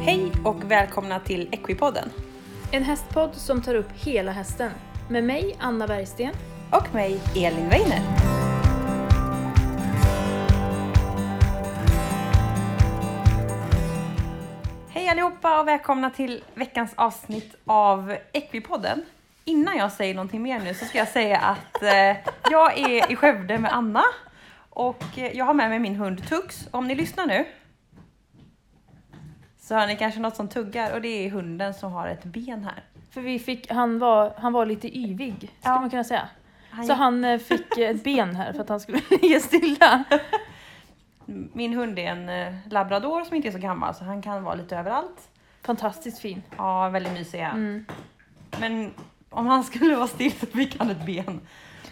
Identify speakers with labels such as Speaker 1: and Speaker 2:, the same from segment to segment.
Speaker 1: Hej och välkomna till Equipodden
Speaker 2: En hästpodd som tar upp hela hästen. Med mig, Anna Bergsten.
Speaker 1: och mig Elin Weiner. Hej allihopa och välkomna till veckans avsnitt av Equipodden. Innan jag säger någonting mer nu så ska jag säga att eh, jag är i Skövde med Anna och eh, jag har med mig min hund Tux. Om ni lyssnar nu så hör ni kanske något som tuggar och det är hunden som har ett ben här.
Speaker 2: För vi fick, han, var, han var lite yvig, skulle
Speaker 1: Ja.
Speaker 2: man kunna säga.
Speaker 1: Han
Speaker 2: Så han eh, fick eh, ett ben här för att han skulle ligga stilla.
Speaker 1: Min hund är en eh, labrador som inte är så gammal så han kan vara lite överallt.
Speaker 2: Fantastiskt fin.
Speaker 1: Ja, väldigt mysiga.
Speaker 2: Mm.
Speaker 1: Men om han skulle vara still så fick han ett ben.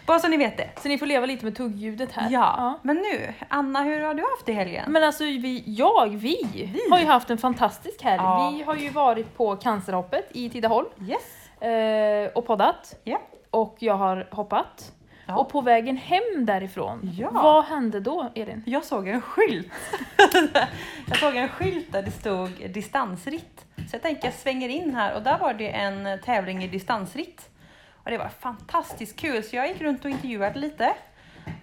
Speaker 1: Bara så ni vet det.
Speaker 2: Så ni får leva lite med tuggljudet
Speaker 1: Ja,
Speaker 2: här.
Speaker 1: men nu Anna, hur har du haft i helgen?
Speaker 2: Men alltså vi, jag, vi, har ju haft en fantastisk helg.
Speaker 1: Ja.
Speaker 2: Vi har ju varit på cancerhoppet i Tidaholm
Speaker 1: Yes.
Speaker 2: eh, och poddat.
Speaker 1: Ja.
Speaker 2: Och jag har hoppat.
Speaker 1: Ja.
Speaker 2: Och på vägen hem därifrån,
Speaker 1: Ja.
Speaker 2: vad hände då Elin?
Speaker 1: Jag såg en skylt. jag såg en skylt där det stod distansritt. Så jag tänker jag svänger in här och där var det en tävling i distansritt. Och det var fantastiskt kul så jag gick runt och intervjuade lite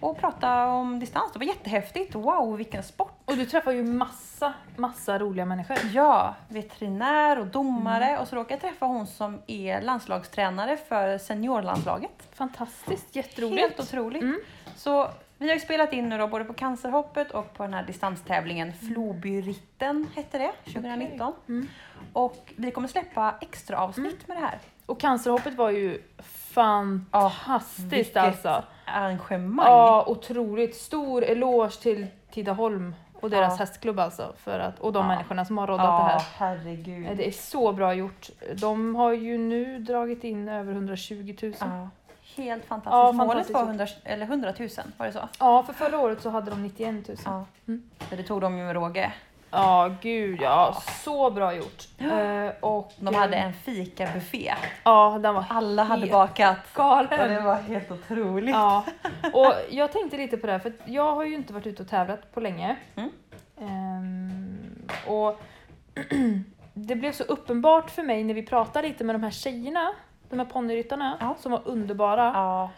Speaker 1: och pratade om distans. Det var jättehäftigt. Wow, vilken sport!
Speaker 2: Och du träffar ju massa, massa roliga människor.
Speaker 1: Ja, veterinär och domare och så råkade jag träffa hon som är landslagstränare för seniorlandslaget.
Speaker 2: Fantastiskt,
Speaker 1: Helt
Speaker 2: jätteroligt.
Speaker 1: otroligt.
Speaker 2: Mm.
Speaker 1: Så vi har ju spelat in nu då både på cancerhoppet och på den här distanstävlingen Flobyritten hette det 2019.
Speaker 2: Mm.
Speaker 1: Och vi kommer släppa extra avsnitt med det här.
Speaker 2: Och cancerhoppet var ju fantastiskt
Speaker 1: vilket
Speaker 2: alltså.
Speaker 1: Arrangemang.
Speaker 2: Ja, otroligt. Stor eloge till Tidaholm och deras
Speaker 1: Ja.
Speaker 2: hästklubb alltså. För att, och de
Speaker 1: Ja.
Speaker 2: människorna som har roddat det
Speaker 1: ja
Speaker 2: här.
Speaker 1: herregud.
Speaker 2: Det är så bra gjort. De har ju nu dragit in över 120 000. Ja,
Speaker 1: Ja, helt fantastiskt.
Speaker 2: Ja,
Speaker 1: Målet
Speaker 2: fantastiskt.
Speaker 1: var 100, eller 100 000, var det så?
Speaker 2: för förra året så hade de 91 000. Ja,
Speaker 1: Ja. Så det tog de ju med råge.
Speaker 2: gud ja. Så bra gjort. Eh, och,
Speaker 1: De hade en fikabuffé.
Speaker 2: Ja, den var
Speaker 1: Alla hade
Speaker 2: Helt
Speaker 1: bakat.
Speaker 2: galen.
Speaker 1: var helt otroligt.
Speaker 2: Ja, och jag tänkte lite på det här för att jag har ju inte varit ute och tävlat på länge.
Speaker 1: Mm.
Speaker 2: Ehm, och det blev så uppenbart för mig när vi pratade lite med de här tjejerna, de här ponnyryttarna
Speaker 1: Ja.
Speaker 2: som var underbara.
Speaker 1: Ja.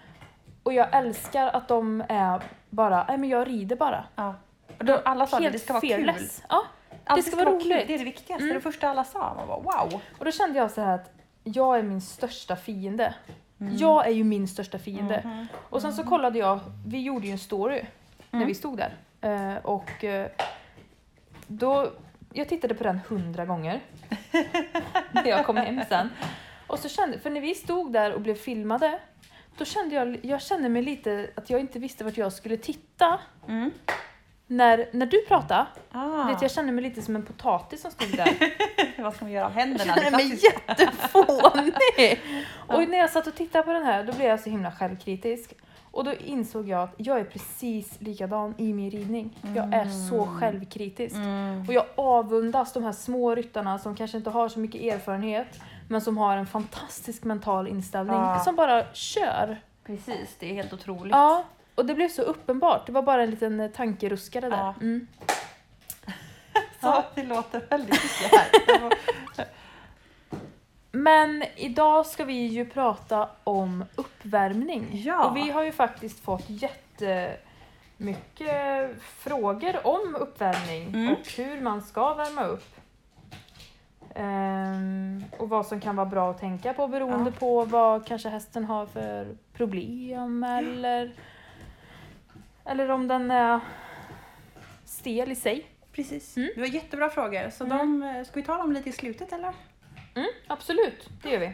Speaker 2: Och jag älskar att de är bara, nej men jag rider bara.
Speaker 1: ja. Och då, alla sa att
Speaker 2: Helt
Speaker 1: det ska vara kul.
Speaker 2: fearless. Ja,
Speaker 1: Allt
Speaker 2: ska vara
Speaker 1: kul.
Speaker 2: roligt.
Speaker 1: Det är det viktigaste.
Speaker 2: Mm.
Speaker 1: Det första alla sa. Man bara wow.
Speaker 2: och då kände jag så här att jag är min största fiende.
Speaker 1: Mm.
Speaker 2: Jag är ju min största fiende.
Speaker 1: Mhm.
Speaker 2: Och sen så kollade jag, vi gjorde ju en story när vi stod där. Eh, och eh, då, jag tittade på den hundra gånger när jag kom hem sen. Och så kände, för när vi stod där och blev filmade, då kände jag, jag kände mig lite att jag inte visste vart jag skulle titta.
Speaker 1: Mm.
Speaker 2: När, när du pratade,
Speaker 1: Ah.
Speaker 2: vet, jag kände mig lite som en potatis som stod där.
Speaker 1: Vad ska man göra av händerna?
Speaker 2: Nej, men
Speaker 1: klassiska.
Speaker 2: jättefånig! Och när jag satt och tittade på den här då blev jag så himla självkritisk. Och då insåg jag att jag är precis likadan i min ridning. Jag är så självkritisk.
Speaker 1: Mm.
Speaker 2: Och jag avundas de här små ryttarna som kanske inte har så mycket erfarenhet men som har en fantastisk mental inställning
Speaker 1: Ja.
Speaker 2: som bara kör.
Speaker 1: Precis, det är helt otroligt.
Speaker 2: Ja, och det blev så uppenbart. Det var bara en liten eh, tankeruskare där.
Speaker 1: Ja.
Speaker 2: Mm.
Speaker 1: Så det låter väldigt mycket här.
Speaker 2: Men idag ska vi ju prata om uppvärmning.
Speaker 1: Ja.
Speaker 2: Och vi har ju faktiskt fått jättemycket frågor om uppvärmning
Speaker 1: Mm.
Speaker 2: och hur man ska värma upp. Ehm, och vad som kan vara bra att tänka på beroende på vad kanske hästen har för problem eller, eller om den är stel i sig.
Speaker 1: Precis.
Speaker 2: Mm.
Speaker 1: Det var jättebra frågor. Så de, eh, ska vi ta dem lite i slutet eller?
Speaker 2: Mm, absolut, det gör vi.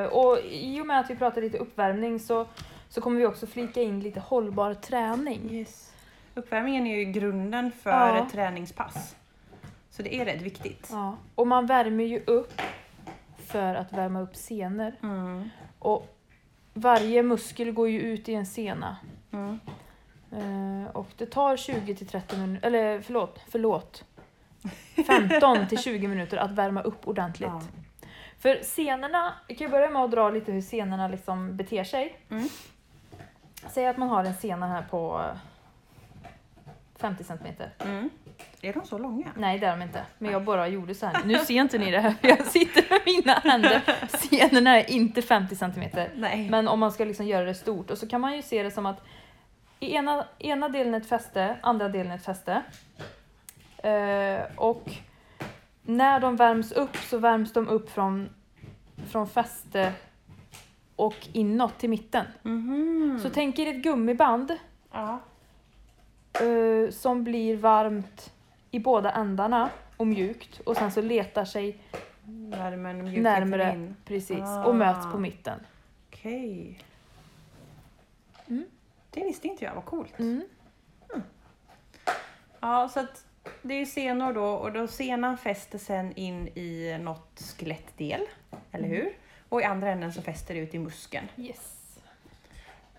Speaker 2: Eh, och i och med att vi pratar lite uppvärmning så, så kommer vi också flika in lite hållbar träning.
Speaker 1: Yes. Uppvärmningen är ju grunden för
Speaker 2: Ja.
Speaker 1: ett träningspass. Så det är rätt viktigt.
Speaker 2: Ja. Och man värmer ju upp för att värma upp senor.
Speaker 1: Mm.
Speaker 2: Och varje muskel går ju ut i en sena.
Speaker 1: Mm.
Speaker 2: Eh, och det tar 20 till 30 minuter, eller förlåt, förlåt. 15 till 20 minuter att värma upp ordentligt.
Speaker 1: Ja.
Speaker 2: För senorna, vi kan ju börja med att dra lite hur senorna liksom beter sig.
Speaker 1: Mm.
Speaker 2: Säg att man har en sena här på 50 centimeter.
Speaker 1: Mm. Är de så långa?
Speaker 2: Nej det är de inte, men jag bara gjorde så här. Nu ser inte ni det här för jag sitter med mina händer. Scenerna är inte 50 centimeter.
Speaker 1: Nej.
Speaker 2: Men om man ska liksom göra det stort och så kan man ju se det som att i ena, ena delen ett fäste, andra delen ett fäste. Eh, och när de värms upp så värms de upp från, från fäste och inåt till mitten.
Speaker 1: Mhm.
Speaker 2: Så tänk er ett gummiband
Speaker 1: ja.
Speaker 2: eh, som blir varmt i båda ändarna och mjukt och sen så letar sig
Speaker 1: Närmare mjukheten
Speaker 2: närmare
Speaker 1: in.
Speaker 2: precis
Speaker 1: Ah.
Speaker 2: och möts på mitten.
Speaker 1: Okej.
Speaker 2: Mm.
Speaker 1: Det visste inte jag, vad coolt.
Speaker 2: Mm.
Speaker 1: Ja, så att det är ju senor då och då senan fäster sen in i något skelettdel, eller
Speaker 2: Mm.
Speaker 1: hur? Och i andra änden så fäster det ut i muskeln.
Speaker 2: Yes.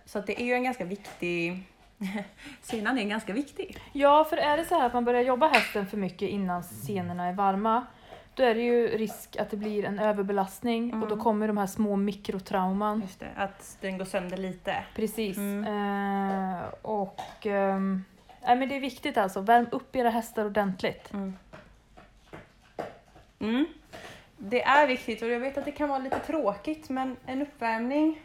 Speaker 1: Så att det är ju en ganska viktig... Senan är ganska viktig.
Speaker 2: Ja, för är det så här att man börjar jobba hästen för mycket innan scenerna är varma då är det ju risk att det blir en överbelastning och då kommer de här små mikrotrauman.
Speaker 1: Just det, att den går sönder lite.
Speaker 2: Precis. Eh, och ehm, nej, men det är viktigt alltså, värm upp era hästar ordentligt.
Speaker 1: Mm. Det är viktigt och jag vet att det kan vara lite tråkigt men en uppvärmning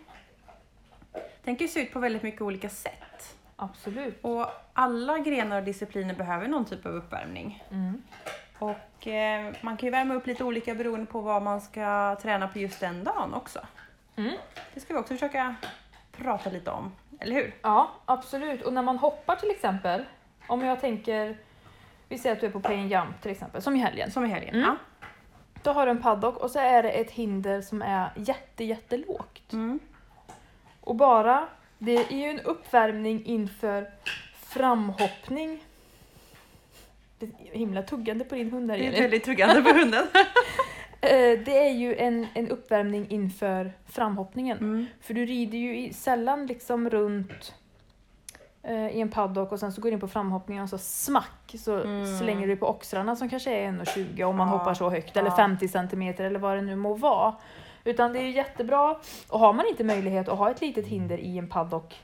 Speaker 1: den kan ju se ut på väldigt mycket olika sätt.
Speaker 2: Absolut.
Speaker 1: Och alla grenar och discipliner behöver någon typ av uppvärmning.
Speaker 2: Mm.
Speaker 1: Och eh, man kan ju värma upp lite olika beroende på vad man ska träna på just den dagen också.
Speaker 2: Mm.
Speaker 1: Det ska vi också försöka prata lite om, eller hur?
Speaker 2: Ja, absolut. Och när man hoppar till exempel, om jag tänker, vi säger att du är på play and jump till exempel, som i helgen.
Speaker 1: Som i helgen.
Speaker 2: Mm.
Speaker 1: Ja.
Speaker 2: Då har du en paddock och så är det ett hinder som är jätte, jättelågt.
Speaker 1: Mm.
Speaker 2: Och bara, det är ju en uppvärmning inför framhoppning. Det är himla tuggande på din hund där
Speaker 1: Det är
Speaker 2: Elin.
Speaker 1: väldigt tryggande för hunden.
Speaker 2: Eh, Det är ju en, en uppvärmning inför framhoppningen.
Speaker 1: Mm.
Speaker 2: För du rider ju i, sällan liksom runt eh, i en paddock och sen så går du in på framhoppningen och så smack så
Speaker 1: Mm.
Speaker 2: slänger du på oxrarna som kanske är 1,20 om man
Speaker 1: Ja.
Speaker 2: hoppar så högt eller
Speaker 1: Ja.
Speaker 2: 50 centimeter eller vad det nu må vara. Utan det är ju jättebra och har man inte möjlighet att ha ett litet hinder i en paddock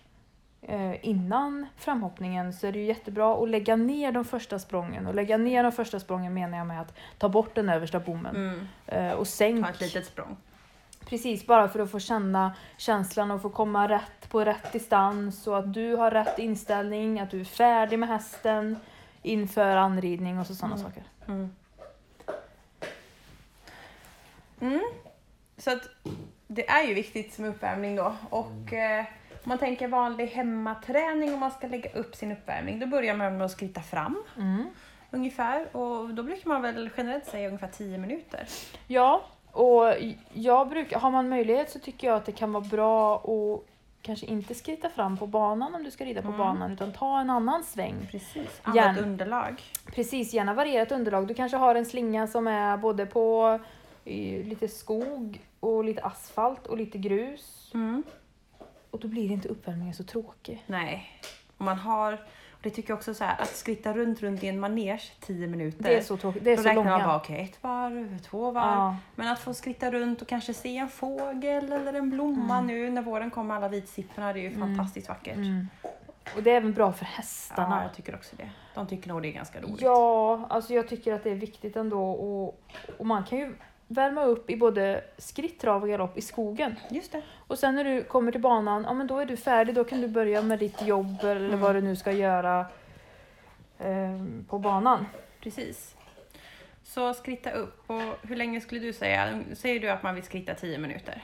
Speaker 2: eh, innan framhoppningen så är det ju jättebra att lägga ner de första sprången och lägga ner de första sprången menar jag med att ta bort den översta bommen
Speaker 1: Mm.
Speaker 2: eh, och sänk
Speaker 1: Ta ett litet språng.
Speaker 2: Precis, bara för att få känna känslan och få komma rätt på rätt distans och att du har rätt inställning, att du är färdig med hästen inför anridning och så sådana
Speaker 1: Mm.
Speaker 2: saker.
Speaker 1: Mm. Mm. Så att det är ju viktigt med uppvärmning då. Och eh, om man tänker vanlig hemmaträning om man ska lägga upp sin uppvärmning, då börjar man med att skritta fram
Speaker 2: Mm.
Speaker 1: ungefär. Och då brukar man väl generellt säga ungefär 10 minuter.
Speaker 2: Ja, och jag brukar, har man möjlighet så tycker jag att det kan vara bra att kanske inte skritta fram på banan om du ska rida på
Speaker 1: Mm.
Speaker 2: banan utan ta en annan sväng.
Speaker 1: Precis.
Speaker 2: Gärna.
Speaker 1: Annat underlag.
Speaker 2: Precis, gärna varierat underlag. Du kanske har en slinga som är både på eh, lite skog och lite asfalt och lite grus
Speaker 1: Mm.
Speaker 2: Och då blir inte uppvärmningen så tråkig.
Speaker 1: Nej. Om man har, och det tycker jag också så här, att skritta runt, runt i en manege 10 minuter.
Speaker 2: Det är så tråkigt. Det är
Speaker 1: då
Speaker 2: så
Speaker 1: räknar man bara
Speaker 2: långa.
Speaker 1: okej, ett varv, två varv.
Speaker 2: Ja,
Speaker 1: Men att få skritta runt och kanske se en fågel eller en blomma nu när våren kommer, alla vitsipporna, det är ju
Speaker 2: Mm.
Speaker 1: fantastiskt vackert.
Speaker 2: mm. Och det är även bra för
Speaker 1: Ja,
Speaker 2: hästarna.
Speaker 1: jag tycker också det. De tycker nog det är ganska roligt.
Speaker 2: Ja, alltså jag tycker att det är viktigt ändå. Och, och man kan ju värma upp i både skritt, trav och galopp i skogen.
Speaker 1: Just det.
Speaker 2: Och sen när du kommer till banan, ja men då är du färdig. Då kan du börja med ditt jobb eller
Speaker 1: Mm.
Speaker 2: vad du nu ska göra eh, på banan.
Speaker 1: Precis. Så skritta upp. Och hur länge skulle du säga? Säger du att man vill skritta 10 minuter?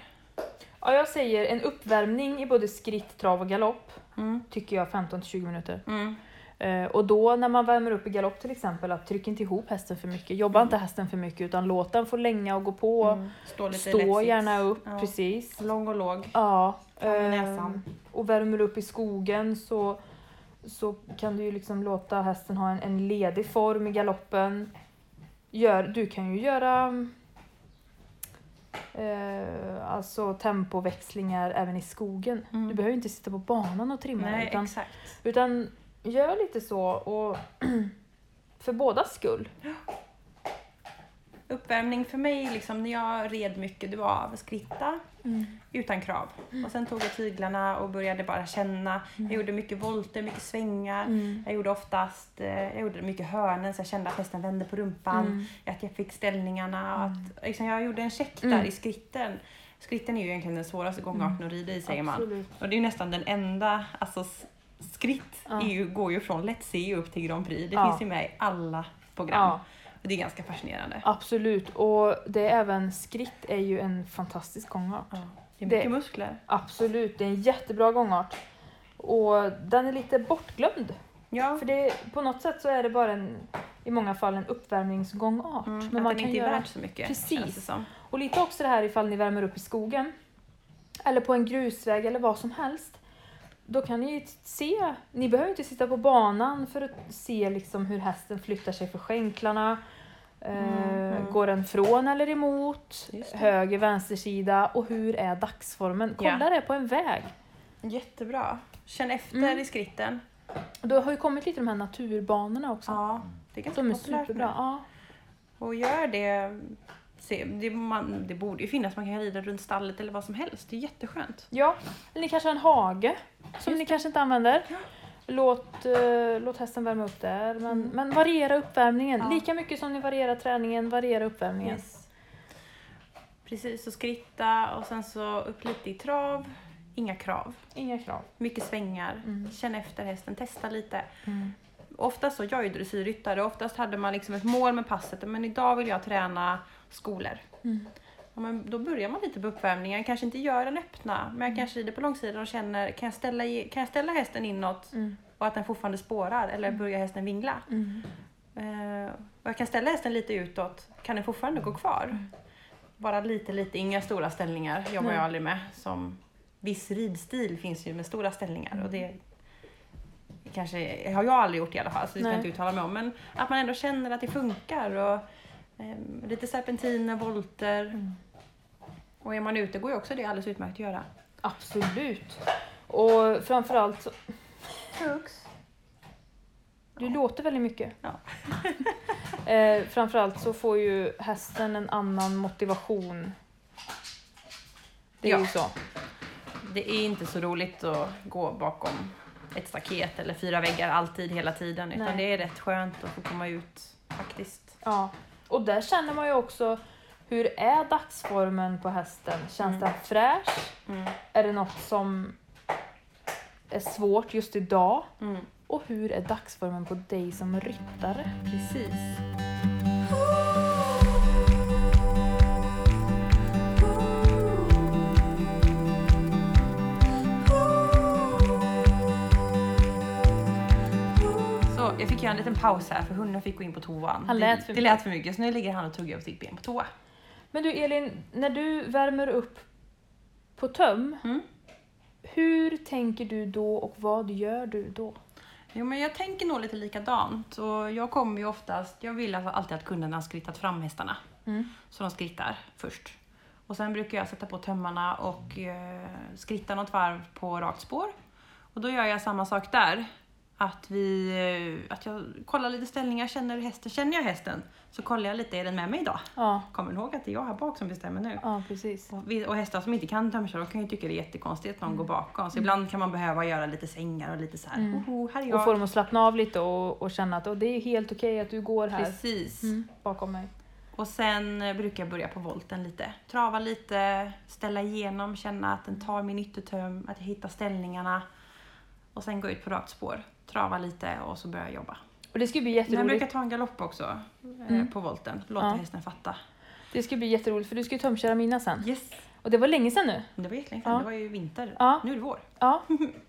Speaker 2: Ja, jag säger en uppvärmning i både skritt, trav och galopp
Speaker 1: Mm.
Speaker 2: tycker jag 15 till 20 minuter.
Speaker 1: Mm.
Speaker 2: Eh, Och då när man värmer upp i galopp till exempel, att tryck inte ihop hästen för mycket. Jobba inte hästen för mycket utan låt den få länga och gå på.
Speaker 1: Mm. Stå lite
Speaker 2: Stå
Speaker 1: lättsits.
Speaker 2: gärna upp,
Speaker 1: Ja.
Speaker 2: precis.
Speaker 1: Lång och låg.
Speaker 2: Ja.
Speaker 1: Fram med
Speaker 2: eh,
Speaker 1: näsan.
Speaker 2: Och värmer du upp i skogen så, så kan du ju liksom låta hästen ha en, en ledig form i galoppen. Gör, du kan ju göra eh, alltså tempoväxlingar även i skogen.
Speaker 1: Mm.
Speaker 2: Du behöver ju inte sitta på banan och trimma
Speaker 1: Nej,
Speaker 2: den, utan
Speaker 1: exakt.
Speaker 2: utan gör lite så och för bådas skull.
Speaker 1: Uppvärmning för mig, liksom, när jag red mycket, det var av skritta
Speaker 2: Mm.
Speaker 1: utan krav. Och sen tog jag tyglarna och började bara känna. Jag gjorde mycket volter, mycket svängar.
Speaker 2: Mm.
Speaker 1: Jag gjorde oftast eh, jag gjorde mycket hörnen så jag kände att hästen vände på rumpan.
Speaker 2: Mm.
Speaker 1: Att jag fick ställningarna. och Att, liksom, jag gjorde en check där
Speaker 2: Mm.
Speaker 1: i skritten. Skritten är ju egentligen den svåraste gångarten att rida i säger man.
Speaker 2: Absolut.
Speaker 1: Och det är ju nästan den enda, alltså s- skritt
Speaker 2: Ja.
Speaker 1: är ju, går ju från Let's See upp till Grand Prix. Det
Speaker 2: Ja.
Speaker 1: finns ju med i alla program.
Speaker 2: Ja,
Speaker 1: Och det är ganska fascinerande.
Speaker 2: absolut. Och det är även skritt är ju en fantastisk gångart.
Speaker 1: Ja. Det är
Speaker 2: Det-
Speaker 1: mycket muskler.
Speaker 2: Absolut, det är en jättebra gångart. Och den är lite bortglömd.
Speaker 1: Ja.
Speaker 2: För det, på något sätt så är det bara en, i många fall en uppvärmningsgångart.
Speaker 1: Mm,
Speaker 2: Men
Speaker 1: att
Speaker 2: man
Speaker 1: den
Speaker 2: kan
Speaker 1: inte är
Speaker 2: göra
Speaker 1: värd så mycket
Speaker 2: Precis.
Speaker 1: känns det som.
Speaker 2: Och lite också det här ifall ni värmer upp i skogen. Eller på en grusväg eller vad som helst. Då kan ni ju se, ni behöver inte sitta på banan för att se liksom hur hästen flyttar sig för skänklarna. Eh,
Speaker 1: Mm.
Speaker 2: Går den från eller emot?
Speaker 1: Just det.
Speaker 2: Höger, vänstersida och hur är dagsformen? Kolla
Speaker 1: Ja.
Speaker 2: det på en väg.
Speaker 1: Jättebra. Känn efter
Speaker 2: Mm.
Speaker 1: i skritten.
Speaker 2: Då har ju kommit lite de här naturbanorna också.
Speaker 1: Ja, det är ganska
Speaker 2: De är
Speaker 1: populärt nu.
Speaker 2: superbra. Ja.
Speaker 1: Och gör det, se, det, man, det borde ju finnas, man kan rida runt stallet eller vad som helst. Det är jätteskönt.
Speaker 2: Ja, eller ni kanske har en hage som ni kanske inte använder.
Speaker 1: Ja.
Speaker 2: Låt, eh, låt hästen värma upp där, men, men variera uppvärmningen.
Speaker 1: Mm. Ja.
Speaker 2: Lika mycket som ni varierar träningen, variera uppvärmningen.
Speaker 1: Precis, så skritta och sen så upp lite i trav. Inga krav.
Speaker 2: Inga krav.
Speaker 1: Mycket svängar.
Speaker 2: Mm.
Speaker 1: Känn efter hästen, testa lite. Oftast så, jag är ju dressyrryttare, oftast hade man liksom ett mål med passet. Men idag vill jag träna skolor.
Speaker 2: Mm.
Speaker 1: Ja, men då börjar man lite på uppvärmningen, kanske inte gör den öppna, men
Speaker 2: Mm.
Speaker 1: jag kanske rider på långsidan och känner, kan jag ställa, i- kan jag ställa hästen inåt
Speaker 2: Mm.
Speaker 1: och att den fortfarande spårar eller börjar hästen vingla?
Speaker 2: Mm.
Speaker 1: Eh, och jag kan ställa hästen lite utåt, kan den fortfarande gå kvar? Bara lite, lite, inga stora ställningar jobbar
Speaker 2: Mm. Nej.
Speaker 1: jag aldrig med. Som, viss ridstil finns ju med stora ställningar
Speaker 2: Mm.
Speaker 1: och det kanske har jag aldrig gjort i alla fall, så det ska jag
Speaker 2: Nej.
Speaker 1: inte uttala mig om. Men att man ändå känner att det funkar och eh, lite serpentiner, volter.
Speaker 2: Mm.
Speaker 1: Och är man ute går ju också det alldeles utmärkt att göra.
Speaker 2: Absolut. Och framförallt så...
Speaker 1: Hux.
Speaker 2: Du låter väldigt mycket.
Speaker 1: Ja.
Speaker 2: eh, framförallt så får ju hästen en annan motivation. Det är
Speaker 1: Ja.
Speaker 2: ju så.
Speaker 1: Det är inte så roligt att gå bakom ett staket eller fyra väggar alltid, hela tiden. Utan
Speaker 2: Nej.
Speaker 1: det är rätt skönt att få komma ut faktiskt.
Speaker 2: Ja, och där känner man ju också hur är dagsformen på hästen? Känns
Speaker 1: Mm.
Speaker 2: den fräsch?
Speaker 1: Mm.
Speaker 2: Är det något som är svårt just idag?
Speaker 1: Mm.
Speaker 2: Och hur är dagsformen på dig som ryttare?
Speaker 1: Precis. Så, jag fick göra en liten paus här för hunden fick gå in på toan.
Speaker 2: Han lät
Speaker 1: det,
Speaker 2: för
Speaker 1: det lät för mycket så nu ligger han och tuggar upp sitt ben på toa.
Speaker 2: Men du Elin, när du värmer upp på töm,
Speaker 1: Mm.
Speaker 2: hur tänker du då och vad gör du då?
Speaker 1: Jo, men jag tänker nog lite likadant. Och jag kommer ju oftast, jag vill alltså alltid att kunderna har skrittat fram hästarna. Så de skrittar först. Och sen brukar jag sätta på tömmarna och eh, skritta något varv på rakt spår. Och då gör jag samma sak där. Att, vi, eh, att jag kollar lite ställningar, känner hur hästen, känner jag hästen så kollar jag lite, är den med mig idag?
Speaker 2: Ja,
Speaker 1: Kommer den ihåg att det är jag här bak som bestämmer nu?
Speaker 2: ja precis.
Speaker 1: Och vi- Och hästar som inte kan tömköra de kan ju tycka det är jättekonstigt att någon går bakom. Så ibland kan man behöva göra lite svängar och lite så här,
Speaker 2: Mm.
Speaker 1: "Hoho, här är jag.
Speaker 2: Och få dem att slappna av lite och, och känna att "Åh, det är helt okej att du går här
Speaker 1: Precis.
Speaker 2: mm. bakom mig.
Speaker 1: Och sen eh, brukar jag börja på volten lite. Trava lite, ställa igenom, känna att den tar min yttertöm, att jag hittar ställningarna. Och sen gå ut på rakt spår. Trava lite och så börjar jag jobba.
Speaker 2: Och det ska bli
Speaker 1: Men jag
Speaker 2: jätteroligt.
Speaker 1: brukar ta en galopp också eh,
Speaker 2: Mm.
Speaker 1: på volten. Låta
Speaker 2: Ja.
Speaker 1: hästen fatta.
Speaker 2: Det ska bli jätteroligt för du ska ju tömköra mina sen.
Speaker 1: Yes!
Speaker 2: Och det var länge sedan nu.
Speaker 1: Men Det var jättelänge sedan,
Speaker 2: Ja.
Speaker 1: det var ju vinter.
Speaker 2: Ja.
Speaker 1: Nu är det vår.
Speaker 2: Ja.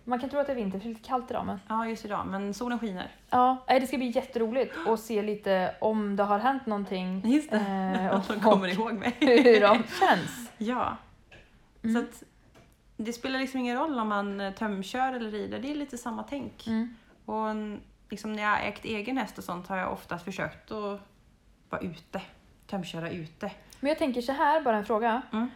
Speaker 2: Man kan tro att det är vinter för det är lite kallt idag men.
Speaker 1: Ja, just idag. Men solen skiner.
Speaker 2: Ja, nej, det ska bli jätteroligt att se lite om det har hänt någonting
Speaker 1: Just det.
Speaker 2: eh,
Speaker 1: Att de
Speaker 2: och, och
Speaker 1: kommer ihåg mig.
Speaker 2: hur de känns.
Speaker 1: ja.
Speaker 2: Mm.
Speaker 1: Så att det spelar liksom ingen roll om man eh, tömkör eller rider. Det är lite samma tänk.
Speaker 2: Mm.
Speaker 1: Och en- liksom när jag har ägt egen häst och sånt har jag oftast försökt att vara ute. Tömköra ute.
Speaker 2: Men jag tänker så här, bara en fråga.
Speaker 1: Mm.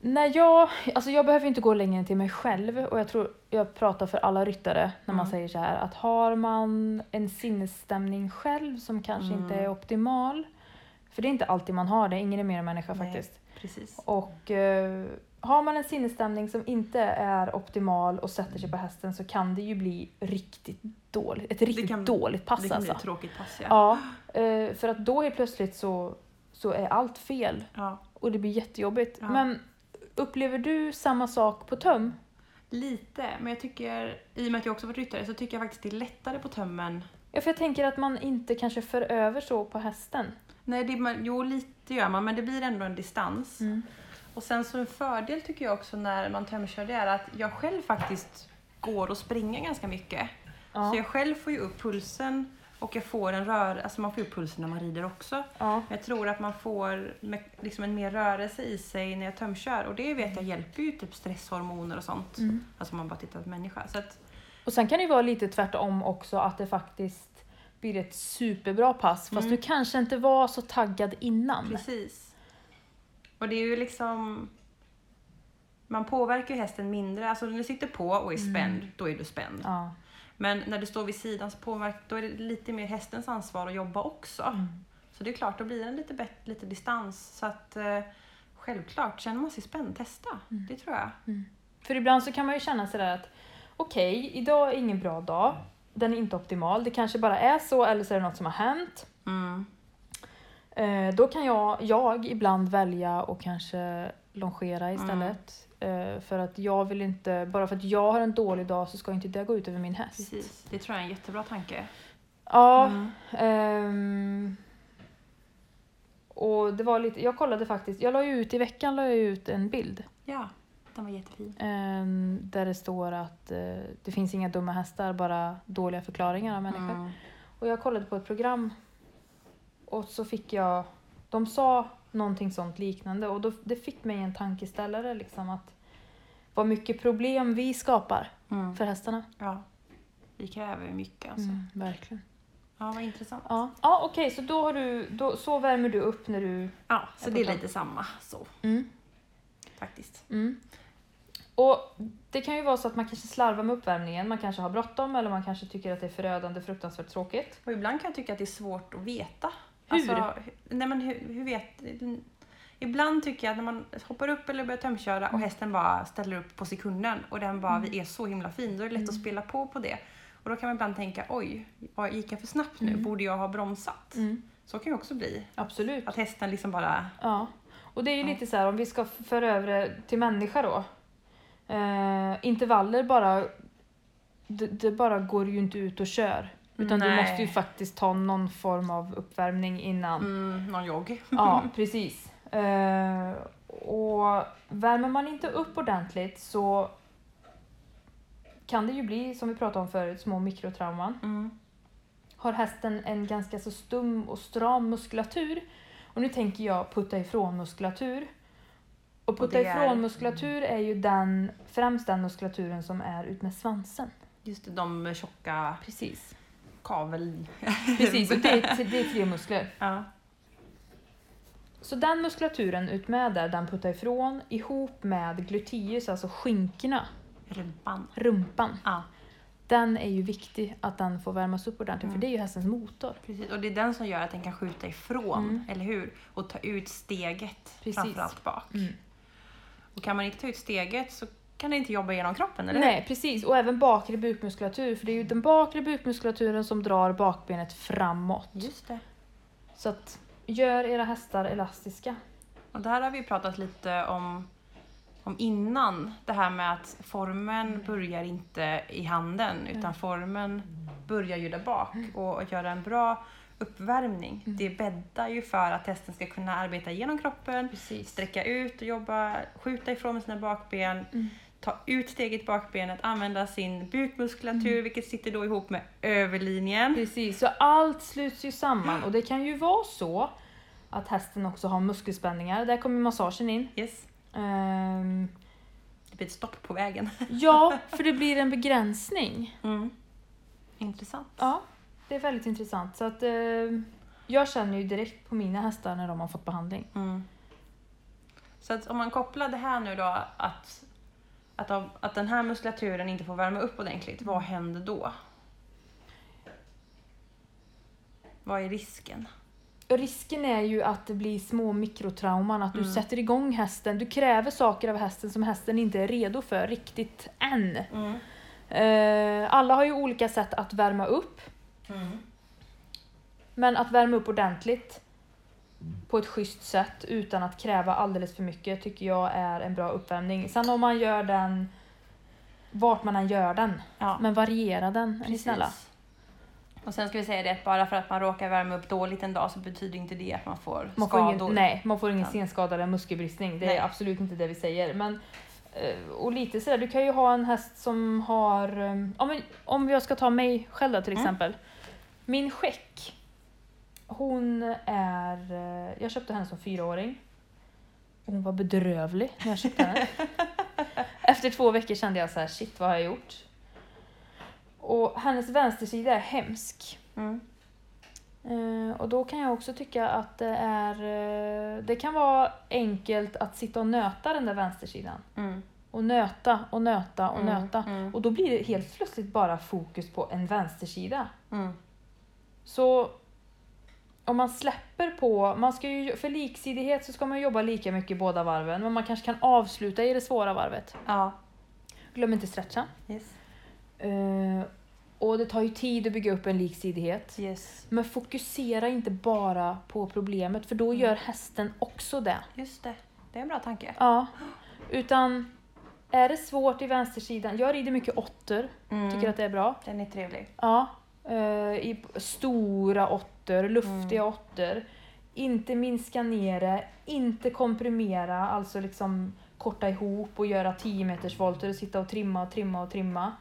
Speaker 2: När jag, alltså jag behöver inte gå längre än till mig själv och jag tror jag pratar för alla ryttare när man
Speaker 1: Mm.
Speaker 2: säger så här att har man en sinnesstämning själv som kanske inte
Speaker 1: Mm.
Speaker 2: är optimal För det är inte alltid man har det, ingen är mer än människa
Speaker 1: Nej.
Speaker 2: faktiskt.
Speaker 1: Precis.
Speaker 2: Och eh, har man en sinnesstämning som inte är optimal och sätter sig på
Speaker 1: Mm.
Speaker 2: hästen så kan det ju bli riktigt dåligt, ett riktigt
Speaker 1: kan-
Speaker 2: dåligt pass
Speaker 1: det kan bli
Speaker 2: alltså.
Speaker 1: ett tråkigt pass ja.
Speaker 2: Ja, eh, för att då helt plötsligt så, så är allt fel
Speaker 1: Ja.
Speaker 2: och det blir jättejobbigt.
Speaker 1: Ja.
Speaker 2: Men upplever du samma sak på töm?
Speaker 1: Lite, men jag tycker, i och med att jag också varit ryttare, så tycker jag faktiskt det är lättare på tömmen.
Speaker 2: Ja, för jag tänker att man inte kanske för över så på hästen.
Speaker 1: Nej, det, man, jo lite gör man, men det blir ändå en distans.
Speaker 2: Mm.
Speaker 1: Och sen så en fördel tycker jag också när man tömkör det är att jag själv faktiskt går och springer ganska mycket.
Speaker 2: Ja.
Speaker 1: Så jag själv får ju upp pulsen och jag får en rör, alltså man får upp pulsen när man rider också.
Speaker 2: ja.
Speaker 1: Men jag tror att man får med, liksom en mer rörelse i sig när jag tömkör och det vet jag hjälper ju typ stresshormoner och sånt.
Speaker 2: Mm.
Speaker 1: Alltså om man bara tittar på människa. Så att,
Speaker 2: Och sen kan det ju vara lite tvärtom också att det faktiskt blir ett superbra pass fast
Speaker 1: Mm.
Speaker 2: du kanske inte var så taggad innan.
Speaker 1: Precis. Och det är ju liksom... Man påverkar ju hästen mindre. Alltså när du sitter på och är spänd, då är du spänd.
Speaker 2: Mm. Ja.
Speaker 1: Men när du står vid sidan så påverkar, då är det lite mer hästens ansvar att jobba också.
Speaker 2: Mm.
Speaker 1: Så det är klart, då blir det en lite, bättre, lite distans. Så att eh, självklart, känner man sig spänd, testa.
Speaker 2: Mm.
Speaker 1: Det tror jag.
Speaker 2: För ibland så kan man ju känna sådär att okej, idag är ingen bra dag. Den är inte optimal. Det kanske bara är så eller så är det något som har hänt.
Speaker 1: Mm,
Speaker 2: Eh, då kan jag, jag ibland välja och kanske
Speaker 1: Mm.
Speaker 2: longera istället. Eh, för att jag vill inte, bara för att jag har en dålig dag så ska inte det gå ut över min häst.
Speaker 1: Precis. Mm. Det tror jag är en jättebra tanke.
Speaker 2: Ja. Ehm, och det var lite, jag kollade faktiskt, jag la ju ut i veckan la jag ut en bild
Speaker 1: Ja, den var jättefin.
Speaker 2: ehm, där det står att eh, det finns inga dumma hästar, bara dåliga förklaringar av människor.
Speaker 1: Mm.
Speaker 2: Och jag kollade på ett program och så fick jag, de sa någonting sånt liknande och då, det fick mig en tankeställare liksom att vad mycket problem vi skapar
Speaker 1: Mm.
Speaker 2: för hästarna.
Speaker 1: Ja. Vi kräver ju mycket alltså.
Speaker 2: Mm, verkligen.
Speaker 1: Ja, vad intressant.
Speaker 2: Ja, ja okej, så då har du, då, så värmer du upp när du
Speaker 1: Ja, så
Speaker 2: Jag
Speaker 1: det är
Speaker 2: fattar.
Speaker 1: lite samma så faktiskt.
Speaker 2: Mm. Och Det kan ju vara så att man kanske slarvar med uppvärmningen, man kanske har bråttom eller man kanske tycker att det är förödande, fruktansvärt tråkigt.
Speaker 1: Och ibland kan jag tycka att det är svårt att veta. Alltså,
Speaker 2: Hur?
Speaker 1: nej men hur, hur vet... Ibland tycker jag att när man hoppar upp eller börjar tömköra
Speaker 2: Mm.
Speaker 1: och hästen bara ställer upp på sekunden och den bara, vi är så himla fin, då är det lätt
Speaker 2: Mm.
Speaker 1: att spela på på det. Och då kan man ibland tänka, oj, vad gick jag för snabbt
Speaker 2: Mm.
Speaker 1: nu? Borde jag ha bromsat? Så kan det också bli.
Speaker 2: Absolut.
Speaker 1: Att hästen liksom bara,
Speaker 2: Ja. Och det är ju lite så här om vi ska föra över det till människa då. Eh, intervaller bara, det, det bara går ju inte ut och kör. Utan du
Speaker 1: Nej.
Speaker 2: måste ju faktiskt ta någon form av uppvärmning innan.
Speaker 1: mm, någon jogg.
Speaker 2: Ja, precis. Eh, och värmer man inte upp ordentligt så kan det ju bli, som vi pratade om förut, små mikrotrauman.
Speaker 1: Mm.
Speaker 2: Har hästen en ganska så stum och stram muskulatur, och nu tänker jag putta ifrån muskulatur. Och putta
Speaker 1: det är-
Speaker 2: ifrån muskulatur är ju den, främst den muskulaturen som är ut med svansen.
Speaker 1: Just det, de tjocka
Speaker 2: Precis.
Speaker 1: kavel...
Speaker 2: Precis, och det är, det är tre muskler.
Speaker 1: Ja.
Speaker 2: Så den muskulaturen ut med där, den puttar ifrån ihop med gluteus, alltså skinkorna,
Speaker 1: Rumpan.
Speaker 2: rumpan.
Speaker 1: Ja,
Speaker 2: Den är ju viktig att den får värmas upp ordentligt
Speaker 1: Mm.
Speaker 2: för det är ju hästens motor.
Speaker 1: Precis, och det är den som gör att den kan skjuta ifrån,
Speaker 2: Mm.
Speaker 1: eller hur? Och ta ut steget,
Speaker 2: Precis.
Speaker 1: framförallt bak.
Speaker 2: Mm.
Speaker 1: Och kan man inte ta ut steget så kan den inte jobba genom kroppen, eller
Speaker 2: Nej precis, och även bakre bukmuskulatur för det är ju den bakre bukmuskulaturen som drar bakbenet framåt.
Speaker 1: hur? Just det.
Speaker 2: Så att gör era hästar elastiska.
Speaker 1: Och där har vi pratat lite om, om innan, det här med att formen börjar inte i handen, utan formen börjar ju där bak. Och att göra en bra uppvärmning, det bäddar ju för att hästen ska kunna arbeta genom kroppen,
Speaker 2: Precis.
Speaker 1: sträcka ut och jobba, skjuta ifrån med sina bakben, ta ut steget bakbenet, använda sin bukmuskulatur vilket sitter då ihop med överlinjen.
Speaker 2: Precis, så allt sluts ju samman och det kan ju vara så att hästen också har muskelspänningar, där kommer massagen in.
Speaker 1: Yes.
Speaker 2: Ehm,
Speaker 1: Det blir ett stopp på vägen.
Speaker 2: Ja, för det blir en begränsning.
Speaker 1: Intressant.
Speaker 2: Ja, det är väldigt intressant. Så att, eh, jag känner ju direkt på mina hästar när de har fått behandling.
Speaker 1: Mm. Så att om man kopplar det här nu då att, att, av, att den här muskulaturen inte får värma upp ordentligt, vad händer då? Vad är risken?
Speaker 2: risken är ju att det blir små mikrotrauman, att du
Speaker 1: Mm.
Speaker 2: sätter igång hästen, du kräver saker av hästen som hästen inte är redo för riktigt än.
Speaker 1: Mm.
Speaker 2: Eh, alla har ju olika sätt att värma upp,
Speaker 1: Mm.
Speaker 2: men att värma upp ordentligt på ett schysst sätt utan att kräva alldeles för mycket tycker jag är en bra uppvärmning. Sen om man gör den vart man än gör den,
Speaker 1: Ja,
Speaker 2: men variera den är ni snälla.
Speaker 1: Och sen ska vi säga det att bara för att man råkar värma upp dåligt en dag så betyder inte det att man får
Speaker 2: Man får,
Speaker 1: skador.
Speaker 2: ingen, nej, man får ingen
Speaker 1: Utan-
Speaker 2: senskada eller muskelbristning. Det
Speaker 1: Nej.
Speaker 2: är absolut inte det vi säger. Men, eh, och lite sådär, du kan ju ha en häst som har... eh, ja, men om jag ska ta mig själv då, till
Speaker 1: Mm.
Speaker 2: exempel. Min skäck. Hon är... eh, Jag köpte henne som fyraåring. Och Hon var bedrövlig när jag köpte henne. Efter två veckor kände jag så här, shit vad har jag gjort? Och hennes vänstersida är hemsk.
Speaker 1: Mm.
Speaker 2: Eh, och då kan jag också tycka att det är... Eh, det kan vara enkelt att sitta och nöta den där vänstersidan.
Speaker 1: Mm.
Speaker 2: Och nöta och nöta och nöta.
Speaker 1: Mm.
Speaker 2: Och då blir det helt plötsligt bara fokus på en vänstersida.
Speaker 1: Mm.
Speaker 2: Så om man släpper på... Man ska ju, för liksidighet så ska man jobba lika mycket båda varven. Men man kanske kan avsluta i det svåra varvet.
Speaker 1: Ja.
Speaker 2: Glöm inte stretchen.
Speaker 1: Yes.
Speaker 2: Eh, och det tar ju tid att bygga upp en liksidighet.
Speaker 1: yes.
Speaker 2: Men fokusera inte bara på problemet för då
Speaker 1: Mm.
Speaker 2: gör hästen också det.
Speaker 1: Just det. Det är en bra tanke.
Speaker 2: Ja. Utan är det svårt i vänstersidan, jag rider mycket åttor,
Speaker 1: Mm.
Speaker 2: tycker att det är bra.
Speaker 1: Den är trevlig.
Speaker 2: Ja. Eh, I stora åttor, luftiga åttor. Inte minska ner det, inte komprimera, alltså liksom korta ihop och göra 10 meters volter och sitta och trimma och trimma och trimma.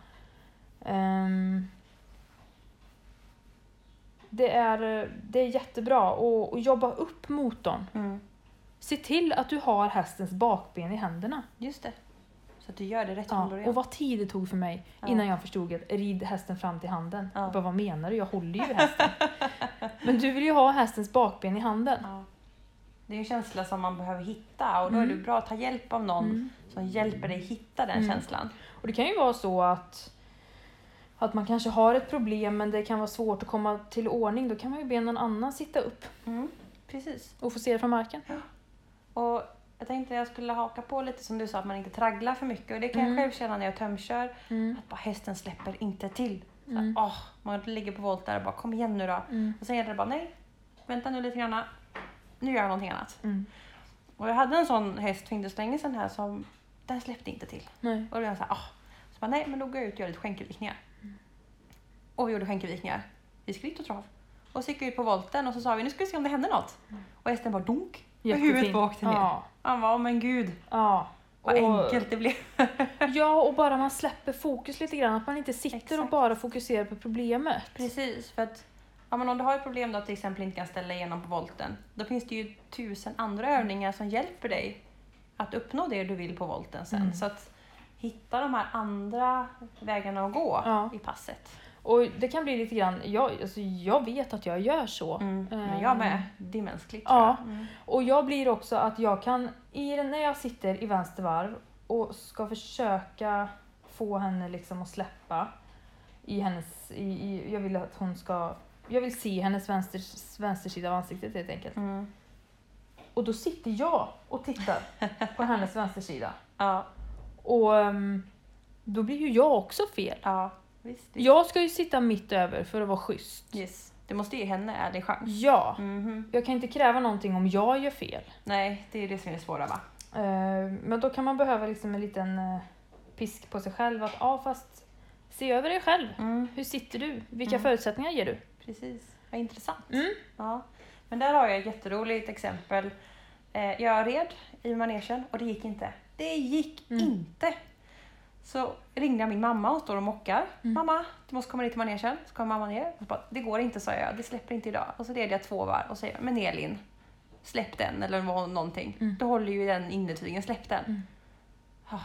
Speaker 2: Ehm, det, är, det är jättebra och, och jobba upp motorn.
Speaker 1: Mm.
Speaker 2: Se till att du har hästens bakben i händerna.
Speaker 1: Just det. Så att du gör det rätt från
Speaker 2: Ja,
Speaker 1: början.
Speaker 2: och vad tid det tog för mig
Speaker 1: Ja.
Speaker 2: innan jag förstod att rid hästen fram till handen.
Speaker 1: Ja.
Speaker 2: Jag bara, vad menar du? Jag håller ju i hästen. Men du vill ju ha hästens bakben i handen.
Speaker 1: Ja. Det är ju en känsla som man behöver hitta och då är
Speaker 2: Mm.
Speaker 1: det bra att ta hjälp av någon
Speaker 2: Mm.
Speaker 1: som hjälper dig hitta den
Speaker 2: Mm.
Speaker 1: känslan.
Speaker 2: Och det kan ju vara så att, att man kanske har ett problem men det kan vara svårt att komma till ordning. Då kan man ju be någon annan sitta upp
Speaker 1: Precis.
Speaker 2: och få se det från marken.
Speaker 1: Och jag tänkte jag skulle haka på lite som du sa, att man inte tragglar för mycket. Och det kan
Speaker 2: Mm.
Speaker 1: jag själv känna när jag tömkör.
Speaker 2: Mm.
Speaker 1: Att bara hästen släpper inte till. Så här,
Speaker 2: Mm.
Speaker 1: åh, man ligger på volt där och bara kom igen nu då.
Speaker 2: Mm.
Speaker 1: Och sen gäller det bara nej, vänta nu lite grann. Nu gör jag någonting annat.
Speaker 2: Mm.
Speaker 1: Och jag hade en sån häst för inte så länge sedan här som den släppte inte till.
Speaker 2: Nej.
Speaker 1: Och då var jag så här, ah. Så bara, nej men då går jag ut och gör lite skänkelvikningar. Och vi gjorde skänkelvikningar i skritt och trav. Och så gick vi ut på volten och så sa vi, nu ska vi se om det händer något. Och hästen bara dunk. Och huvudet bara åkte ner.
Speaker 2: Ja.
Speaker 1: Han var men gud
Speaker 2: ja.
Speaker 1: vad
Speaker 2: Och-
Speaker 1: enkelt det blev.
Speaker 2: Ja, och bara man släpper fokus lite grann. Att man inte sitter och
Speaker 1: Exakt.
Speaker 2: bara fokuserar på problemet.
Speaker 1: Precis, för att ja, men om du har ett problem då till exempel inte kan ställa igenom på volten, då finns det ju tusen andra
Speaker 2: Mm.
Speaker 1: övningar som hjälper dig att uppnå det du vill på volten sen.
Speaker 2: Mm.
Speaker 1: Så att hitta de här andra vägarna att gå
Speaker 2: Ja.
Speaker 1: i passet.
Speaker 2: Och det kan bli lite grann, jag, alltså, jag vet att jag gör så.
Speaker 1: Mm. Men
Speaker 2: Eh,
Speaker 1: jag med, det är mänskligt
Speaker 2: Ja.
Speaker 1: tror jag. Mm.
Speaker 2: Och jag blir också att jag kan, i, den- när jag sitter i vänster varv och ska försöka få henne liksom att släppa i hennes, i, i, jag vill att hon ska, jag vill se hennes vänster, vänstersida av ansiktet helt enkelt.
Speaker 1: Mm.
Speaker 2: Och då sitter jag och tittar på hennes vänstersida.
Speaker 1: Ja,
Speaker 2: Och ehm, då blir ju jag också fel.
Speaker 1: ja, visst. visst.
Speaker 2: Jag ska ju sitta mitt över för att vara schysst.
Speaker 1: Yes. Du måste ge henne ärlig chans.
Speaker 2: Ja,
Speaker 1: Mhm.
Speaker 2: jag kan inte kräva någonting om jag gör fel.
Speaker 1: Nej, det är det som är det svåra va?
Speaker 2: Eh, Men då kan man behöva liksom en liten eh, pisk på sig själv att ja fast se över dig själv. Hur sitter du? Vilka
Speaker 1: Mm.
Speaker 2: förutsättningar ger du?
Speaker 1: Precis, vad intressant.
Speaker 2: Mm.
Speaker 1: Ja. Men där har jag ett jätteroligt exempel. Eh, Jag red i manegen och det gick inte. Det gick
Speaker 2: Mm.
Speaker 1: inte! Så ringde jag min mamma och står och mockar.
Speaker 2: Mm.
Speaker 1: Mamma, du måste komma ner till manegen. Så kommer mamma ner. Och så bara, det går inte sa jag, det släpper inte idag. Och så red jag två varv och säger, men Elin, släpp den eller vad- någonting.
Speaker 2: Mm.
Speaker 1: Du håller ju den innertygen, släpp den.
Speaker 2: Mm.
Speaker 1: Ah.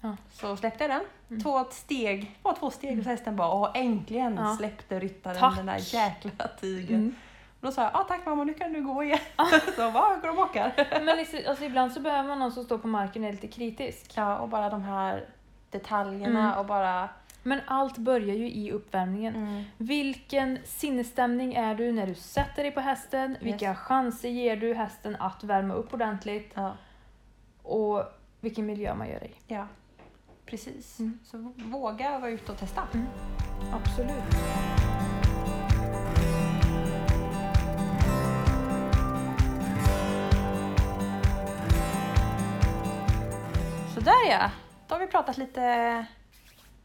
Speaker 2: Ja.
Speaker 1: Så släppte jag den.
Speaker 2: Mm.
Speaker 1: Två steg, bara två steg och så hästen bara, åh äntligen
Speaker 2: Ja.
Speaker 1: släppte ryttaren
Speaker 2: Tack.
Speaker 1: den där jäkla tygen.
Speaker 2: Mm.
Speaker 1: Och då sa jag, ah, tack mamma, nu kan du gå igen.
Speaker 2: Ah.
Speaker 1: så bara "Ah, går de och åker.
Speaker 2: Men liksom, alltså, ibland så behöver man någon som står på marken och är lite kritisk.
Speaker 1: Ja, och bara de här detaljerna
Speaker 2: Mm.
Speaker 1: och bara
Speaker 2: Men allt börjar ju i uppvärmningen.
Speaker 1: Mm.
Speaker 2: Vilken sinnesstämning är du när du sätter dig på hästen? Vilka chanser ger du hästen att värma upp ordentligt?
Speaker 1: Ja.
Speaker 2: Och vilken miljö man gör det i.
Speaker 1: ja, precis.
Speaker 2: Mm.
Speaker 1: Så våga vara ute och testa.
Speaker 2: Absolut.
Speaker 1: Sådär ja, då har vi pratat lite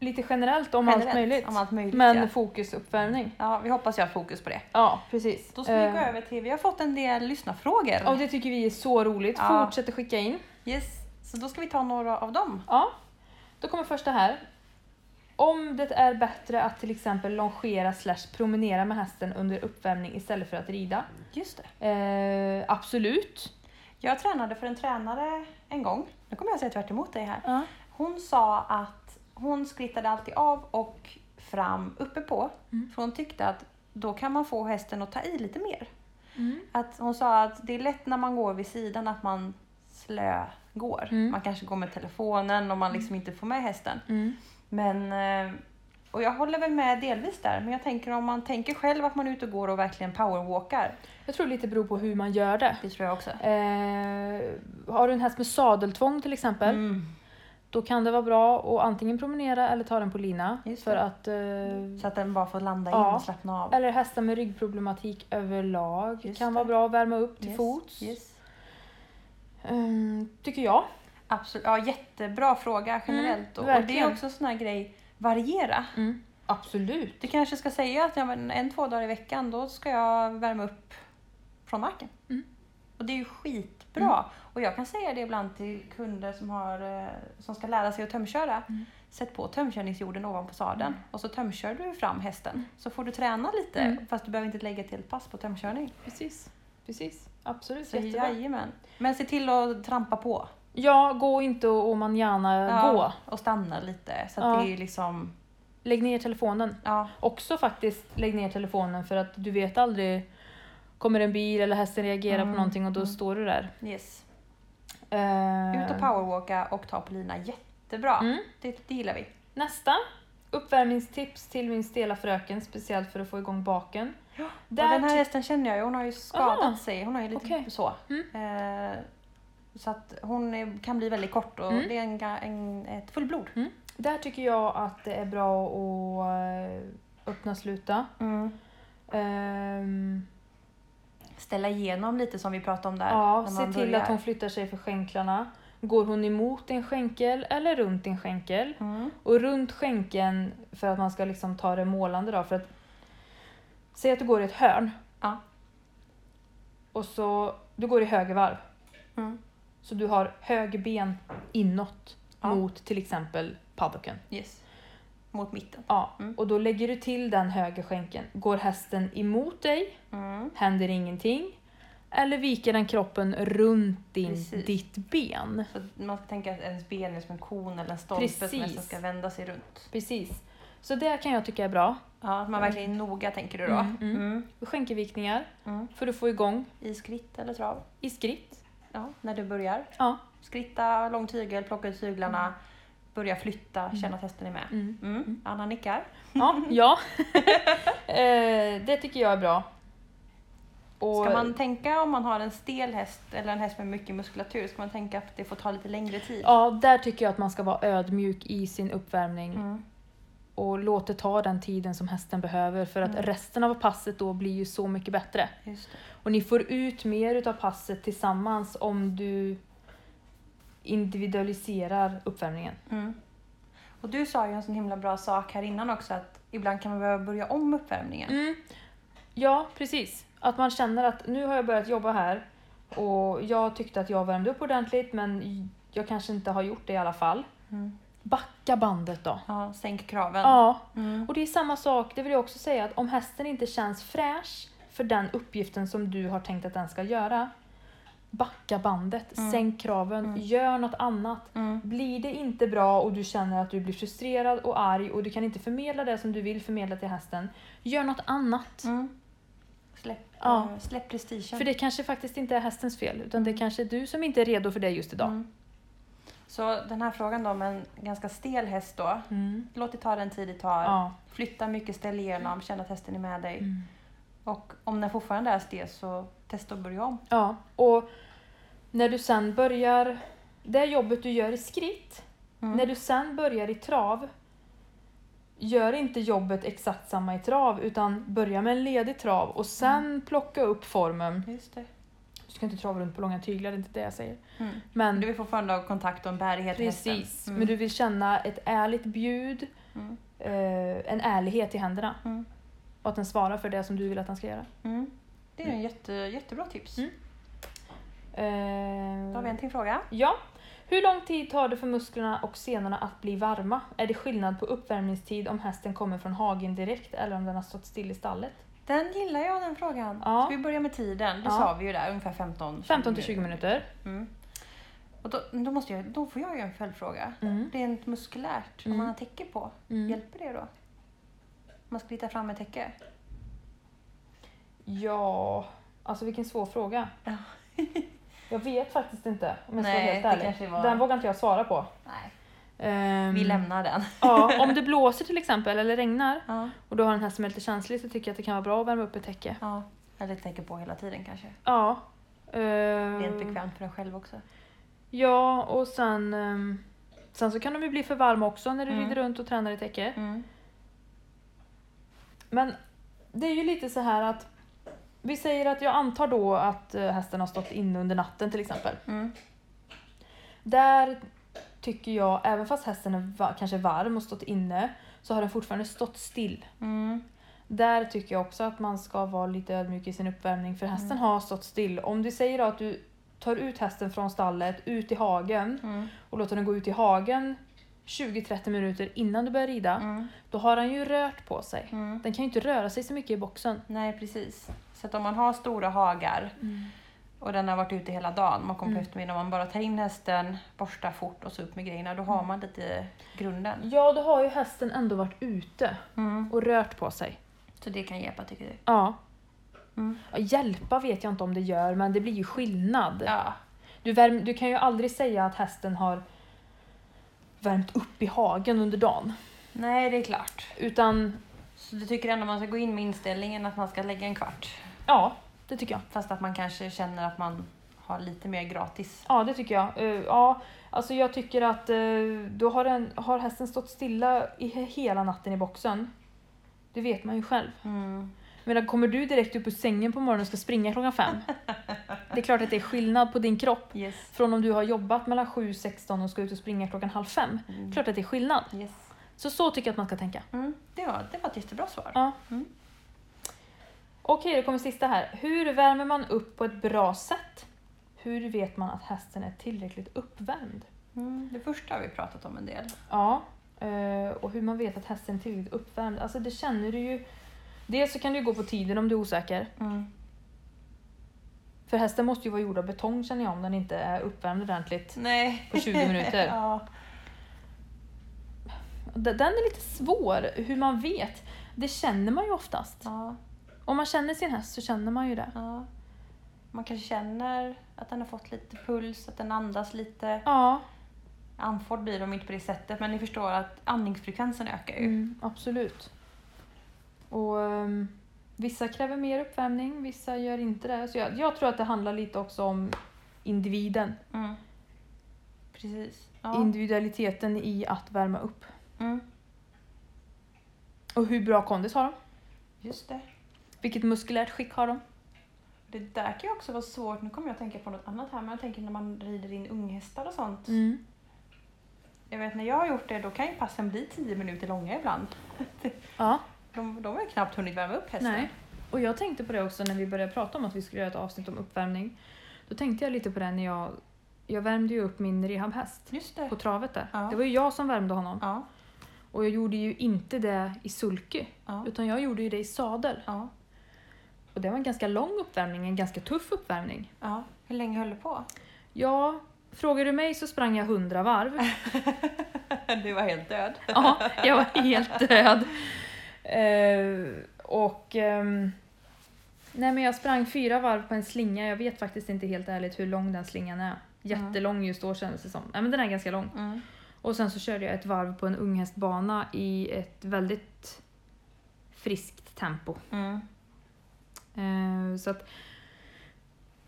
Speaker 2: Lite generellt om
Speaker 1: generellt
Speaker 2: allt möjligt.
Speaker 1: om allt möjligt.
Speaker 2: men
Speaker 1: ja.
Speaker 2: fokus uppvärmning.
Speaker 1: ja, vi hoppas jag har fokus på det.
Speaker 2: Ja, precis.
Speaker 1: Då ska vi
Speaker 2: Eh,
Speaker 1: gå över till, vi har fått en del lyssnarfrågor.
Speaker 2: Och det tycker vi är så roligt.
Speaker 1: Ja.
Speaker 2: Fortsätt att skicka in.
Speaker 1: Yes. Så då ska vi ta några av dem.
Speaker 2: Ja, då kommer första här. Om det är bättre att till exempel longera slash promenera med hästen under uppvärmning istället för att rida?
Speaker 1: Just det.
Speaker 2: Eh, absolut.
Speaker 1: Jag tränade för en tränare en gång. Nu kommer jag säga tvärt emot dig här.
Speaker 2: Ja.
Speaker 1: Hon sa att hon skrittade alltid av och fram uppe på.
Speaker 2: Mm.
Speaker 1: För hon tyckte att då kan man få hästen att ta i lite mer.
Speaker 2: Mm.
Speaker 1: Att hon sa att det är lätt när man går vid sidan att man slö går.
Speaker 2: Mm.
Speaker 1: Man kanske går med telefonen och man liksom inte får med hästen. Men, eh, och jag håller väl med delvis där, men jag tänker om man tänker själv att man är ute och går och verkligen powerwalkar.
Speaker 2: Jag tror det lite beror på hur man gör det.
Speaker 1: Det tror jag också.
Speaker 2: Eh, har du en häst med sadeltvång till exempel,
Speaker 1: Mm.
Speaker 2: då kan det vara bra att antingen promenera eller ta den på lina.
Speaker 1: Just
Speaker 2: För
Speaker 1: det.
Speaker 2: att, eh,
Speaker 1: Så att den bara får landa in
Speaker 2: Ja.
Speaker 1: och slappna av.
Speaker 2: eller hästar med ryggproblematik överlag
Speaker 1: Just
Speaker 2: kan
Speaker 1: det.
Speaker 2: vara bra att värma upp till
Speaker 1: Yes,
Speaker 2: fots.
Speaker 1: yes.
Speaker 2: Eh, tycker jag.
Speaker 1: Absolut. Ja, jättebra fråga generellt. då. och det
Speaker 2: Mm, verkligen.
Speaker 1: är också en sån här grej, variera.
Speaker 2: Absolut.
Speaker 1: Du kanske ska säga att ja, men en, två dagar i veckan då ska jag värma upp från marken.
Speaker 2: Mm.
Speaker 1: Och det är ju skitbra. Och jag kan säga det ibland till kunder som, har, eh, som ska lära sig att tömköra.
Speaker 2: Mm.
Speaker 1: Sätt på tömkörningsjorden ovanpå sadeln och så tömkör du fram hästen. Så får du träna lite
Speaker 2: Mm.
Speaker 1: fast du behöver inte lägga ett helt pass på tömkörning.
Speaker 2: Precis. Precis. Absolut.
Speaker 1: Så
Speaker 2: Jättebra.
Speaker 1: jajamän. Men se till att trampa på
Speaker 2: Ja, gå inte och manjana
Speaker 1: Ja.
Speaker 2: gå.
Speaker 1: och stanna lite. Så
Speaker 2: Ja.
Speaker 1: att det är liksom,
Speaker 2: Lägg ner telefonen.
Speaker 1: ja,
Speaker 2: Också faktiskt, lägg ner telefonen för att du vet aldrig. Kommer en bil eller hästen reagerar
Speaker 1: Mm,
Speaker 2: på någonting och då
Speaker 1: mm.
Speaker 2: står du där.
Speaker 1: yes.
Speaker 2: Eh,
Speaker 1: Ut och powerwalka och ta på lina. Jättebra.
Speaker 2: Mm.
Speaker 1: Det, det gillar vi.
Speaker 2: Nästa. Uppvärmningstips till min stela fröken, speciellt för att få igång baken.
Speaker 1: Ja,
Speaker 2: Där
Speaker 1: och den här
Speaker 2: ty-
Speaker 1: hästen känner jag ju, hon har ju skadat
Speaker 2: Ah,
Speaker 1: sig. Hon har ju lite
Speaker 2: okej. Mm.
Speaker 1: så. Eh, så att hon är, kan bli väldigt kort och
Speaker 2: Mm.
Speaker 1: det är en, ga- en, ett fullblod.
Speaker 2: Där tycker jag att det är bra att eh, öppna sluta. Ehm,
Speaker 1: Ställa igenom lite som vi pratade om där.
Speaker 2: Ja,
Speaker 1: när
Speaker 2: se
Speaker 1: man
Speaker 2: till
Speaker 1: börjar.
Speaker 2: att hon flyttar sig för skänklarna. Går hon emot en skänkel eller runt en skänkel?
Speaker 1: Mm.
Speaker 2: Och runt skänkeln för att man ska liksom ta det målande då. För att, säg att du går i ett hörn.
Speaker 1: Ja.
Speaker 2: Och så, du går i höger varv.
Speaker 1: Mm.
Speaker 2: Så du har höger ben inåt
Speaker 1: Ja.
Speaker 2: mot till exempel paddocken.
Speaker 1: Yes. Mot mitten.
Speaker 2: Ja,
Speaker 1: Mm.
Speaker 2: och då lägger du till den höger skänkeln. Går hästen emot dig
Speaker 1: Mm.
Speaker 2: händer ingenting. Eller viker den kroppen runt din,
Speaker 1: Precis.
Speaker 2: ditt ben.
Speaker 1: Så att man ska tänka att ens ben är som en kon eller en stolpe som
Speaker 2: Precis.
Speaker 1: nästan ska vända sig runt.
Speaker 2: Precis. Så det kan jag tycka är bra.
Speaker 1: Ja, att man verkligen är noga tänker du då.
Speaker 2: Mm, mm.
Speaker 1: Mm.
Speaker 2: Skänkelvikningar
Speaker 1: Mm.
Speaker 2: för att få igång
Speaker 1: I skritt eller trav.
Speaker 2: i skritt.
Speaker 1: Ja, när du börjar.
Speaker 2: Ja.
Speaker 1: Skritta, lång tygel, plocka ut tyglarna, börja flytta, känna att hästen är med.
Speaker 2: Mm.
Speaker 1: Mm. Anna nickar.
Speaker 2: Ja, ja. Eh, det tycker jag är bra. Och,
Speaker 1: Ska man tänka om man har en stel häst eller en häst med mycket muskulatur, ska man tänka att det får ta lite längre tid?
Speaker 2: Ja, där tycker jag att man ska vara ödmjuk i sin uppvärmning
Speaker 1: Mm.
Speaker 2: och låta det ta den tiden som hästen behöver för att
Speaker 1: Mm.
Speaker 2: resten av passet då blir ju så mycket bättre.
Speaker 1: Just det.
Speaker 2: Och ni får ut mer utav passet tillsammans om du individualiserar uppvärmningen.
Speaker 1: Mm. Och du sa ju en sån himla bra sak här innan också att ibland kan man behöva börja om uppvärmningen.
Speaker 2: Mm. Ja, precis. Att man känner att nu har jag börjat jobba här och jag tyckte att jag värmde upp ordentligt men jag kanske inte har gjort det i alla fall.
Speaker 1: Mm.
Speaker 2: Backa bandet då.
Speaker 1: Ja, sänk kraven.
Speaker 2: Ja,
Speaker 1: Mm.
Speaker 2: och det är samma sak, det vill jag också säga, att om hästen inte känns fräsch för den uppgiften som du har tänkt att den ska göra, backa bandet,
Speaker 1: Mm.
Speaker 2: sänk kraven,
Speaker 1: Mm.
Speaker 2: gör något annat.
Speaker 1: Mm.
Speaker 2: Blir det inte bra och du känner att du blir frustrerad och arg och du kan inte förmedla det som du vill förmedla till hästen, gör något annat.
Speaker 1: Mm. Släpp,
Speaker 2: Ja.
Speaker 1: eh, släpp
Speaker 2: Mm.
Speaker 1: prestigen.
Speaker 2: För det kanske faktiskt inte är hästens fel, utan det kanske är du som inte är redo för det just idag.
Speaker 1: Mm. Så den här frågan då om en ganska stel häst då.
Speaker 2: Mm.
Speaker 1: Låt det ta den tid det tar.
Speaker 2: Ja.
Speaker 1: Flytta mycket, ställ igenom, känn att hästen är med dig.
Speaker 2: Mm.
Speaker 1: Och om den fortfarande är stel så testa att börja om.
Speaker 2: Ja, och när du sen börjar... Det jobbet du gör i skritt,
Speaker 1: Mm.
Speaker 2: när du sen börjar i trav, gör inte jobbet exakt samma i trav utan börja med en ledig trav och sen plocka upp formen.
Speaker 1: Just det.
Speaker 2: Du ska inte trava runt på långa tyglar, det är inte det jag säger.
Speaker 1: Mm.
Speaker 2: Men
Speaker 1: Du vill fortfarande ha kontakt och en bärighet i hästen.
Speaker 2: precis,
Speaker 1: Mm.
Speaker 2: men du vill känna ett ärligt bjud,
Speaker 1: Mm.
Speaker 2: eh, en ärlighet i händerna
Speaker 1: Mm.
Speaker 2: och att den svarar för det som du vill att den ska göra.
Speaker 1: Mm. Det är en jätte, jättebra tips.
Speaker 2: Mm. Eh,
Speaker 1: Då har vi en till fråga.
Speaker 2: Ja. Hur lång tid tar det för musklerna och senorna att bli varma? Är det skillnad på uppvärmningstid om hästen kommer från hagen direkt eller om den har stått still i stallet?
Speaker 1: Den gillar jag den frågan.
Speaker 2: Ja.
Speaker 1: Ska vi börja med tiden? Det
Speaker 2: Ja.
Speaker 1: sa vi ju där, ungefär 15
Speaker 2: 15 till 20 minuter.
Speaker 1: Mm. Och då, då, måste jag, då får jag ju en följdfråga.
Speaker 2: Mm.
Speaker 1: Rent muskulärt,
Speaker 2: Mm.
Speaker 1: om man har täcke på,
Speaker 2: Mm.
Speaker 1: hjälper det då? Om man ska lita fram med täcke?
Speaker 2: Ja, alltså vilken svår fråga.
Speaker 1: Ja.
Speaker 2: jag vet faktiskt inte om jag ska vara
Speaker 1: Nej,
Speaker 2: helt
Speaker 1: det
Speaker 2: ärlig.
Speaker 1: kanske var- Mm.
Speaker 2: Den vågar inte jag svara på.
Speaker 1: Nej,
Speaker 2: Ehm,
Speaker 1: vi lämnar den.
Speaker 2: ja, om det blåser till exempel eller regnar
Speaker 1: Ja,
Speaker 2: och då har den här som är lite känslig så tycker jag att det kan vara bra att värma upp ett täcke.
Speaker 1: ja. Eller täcke på hela tiden kanske.
Speaker 2: Ja.
Speaker 1: Rent
Speaker 2: Ehm,
Speaker 1: bekvämt för en själv också.
Speaker 2: Ja, och sen, ehm, sen så kan de ju bli för varma också när du
Speaker 1: Mm.
Speaker 2: rider runt och tränar i täcke.
Speaker 1: Mm.
Speaker 2: Men det är ju lite så här att vi säger att jag antar då att eh, hästen har stått inne under natten till exempel.
Speaker 1: Mm.
Speaker 2: Där tycker jag, även fast hästen är va- kanske varm och stått inne, så har den fortfarande stått still.
Speaker 1: Mm.
Speaker 2: Där tycker jag också att man ska vara lite ödmjuk i sin uppvärmning för hästen
Speaker 1: Mm.
Speaker 2: har stått still. Om du säger då att du tar ut hästen från stallet, ut i hagen
Speaker 1: Mm.
Speaker 2: och låter den gå ut i hagen 20-30 minuter innan du börjar rida,
Speaker 1: Mm.
Speaker 2: då har den ju rört på sig.
Speaker 1: Mm.
Speaker 2: Den kan ju inte röra sig så mycket i boxen.
Speaker 1: Nej, precis. Så att om man har stora hagar och den har varit ute hela dagen, man kommer på
Speaker 2: Mm.
Speaker 1: eftermiddagen och man bara tar in hästen, borstar fort och så upp med grejerna, då har man lite grunden.
Speaker 2: Ja, då har ju hästen ändå varit ute och rört på sig.
Speaker 1: Mm. Så det kan hjälpa tycker du?
Speaker 2: Ja.
Speaker 1: Mm.
Speaker 2: Ja, Hjälpa vet jag inte om det gör, men det blir ju skillnad.
Speaker 1: Ja.
Speaker 2: Du, värm, du kan ju aldrig säga att hästen har värmt upp i hagen under dagen.
Speaker 1: Nej, det är klart.
Speaker 2: Utan,
Speaker 1: Så du tycker ändå man ska gå in med inställningen att man ska lägga en kvart?
Speaker 2: ja, det tycker jag.
Speaker 1: Fast att man kanske känner att man har lite mer gratis?
Speaker 2: Ja, det tycker jag. Eh, ja, alltså jag tycker att eh, då har, den, har hästen stått stilla i he- hela natten i boxen. Det vet man ju själv.
Speaker 1: Mm.
Speaker 2: Jag menar, kommer du direkt upp ur sängen på morgonen och ska springa klockan fem? Det är klart att det är skillnad på din kropp
Speaker 1: Yes.
Speaker 2: från om du har jobbat mellan 7 och 16 och ska ut och springa klockan halv fem.
Speaker 1: Mm.
Speaker 2: Klart att det är skillnad.
Speaker 1: Yes.
Speaker 2: Så så tycker jag att man ska tänka.
Speaker 1: Mm. Det, var, det var ett jättebra svar.
Speaker 2: Ja.
Speaker 1: Mm.
Speaker 2: Okej, då kommer sista här. Hur värmer man upp på ett bra sätt? Hur vet man att hästen är tillräckligt uppvärmd?
Speaker 1: Mm. Det första har vi pratat om en del.
Speaker 2: Ja, eh, och hur man vet att hästen är tillräckligt uppvärmd. Alltså det känner du ju. Dels så kan du ju gå på tiden om du är osäker. För hästen måste ju vara gjord av betong känner jag om den inte är uppvärmd ordentligt.
Speaker 1: Nej.
Speaker 2: På 20 minuter.
Speaker 1: ja.
Speaker 2: D- Den är lite svår, hur man vet. Det känner man ju oftast.
Speaker 1: Ja,
Speaker 2: Om man känner sin häst så känner man ju det.
Speaker 1: ja. Man kanske känner att den har fått lite puls, att den andas lite.
Speaker 2: Ja,
Speaker 1: Andfådd blir de inte på det sättet, men ni förstår att andningsfrekvensen ökar ju.
Speaker 2: mm, absolut. Och ehm, Vissa kräver mer uppvärmning, vissa gör inte det. Så jag, jag tror att det handlar lite också om individen.
Speaker 1: Mm. Precis. Ja.
Speaker 2: Individualiteten i att värma upp.
Speaker 1: Mm.
Speaker 2: Och hur bra kondis har de?
Speaker 1: Just det.
Speaker 2: Vilket muskulärt skick har de?
Speaker 1: Det där kan ju också vara svårt. Nu kommer jag att tänka på något annat här, men jag tänker när man rider in unghästar och sånt.
Speaker 2: Mm.
Speaker 1: Jag vet när jag har gjort det, då kan ju passen bli 10 minuter långa ibland.
Speaker 2: Ja,
Speaker 1: De, de har ju knappt hunnit värma upp hästen.
Speaker 2: nej. Och jag tänkte på det också när vi började prata om att vi skulle göra ett avsnitt om uppvärmning. Då tänkte jag lite på det när jag... Jag värmde ju upp min rehabhäst
Speaker 1: Just det.
Speaker 2: på travet där.
Speaker 1: Ja.
Speaker 2: Det var ju jag som värmde honom.
Speaker 1: Ja.
Speaker 2: Och jag gjorde ju inte det i sulky,
Speaker 1: Ja.
Speaker 2: utan jag gjorde ju det i sadel.
Speaker 1: Ja.
Speaker 2: Och det var en ganska lång uppvärmning, en ganska tuff uppvärmning.
Speaker 1: ja. Hur länge höll du på?
Speaker 2: Ja, frågar du mig så sprang jag hundra varv.
Speaker 1: Du var helt död.
Speaker 2: Ja, jag var helt död. Eh, och ehm, Nej men jag sprang fyra varv på en slinga, jag vet faktiskt inte helt ärligt hur lång den slingan är. Jättelång just då kändes det som. Nej men den är ganska lång.
Speaker 1: Mm.
Speaker 2: Och sen så körde jag ett varv på en unghästbana i ett väldigt friskt tempo.
Speaker 1: Mm.
Speaker 2: Eh, så att,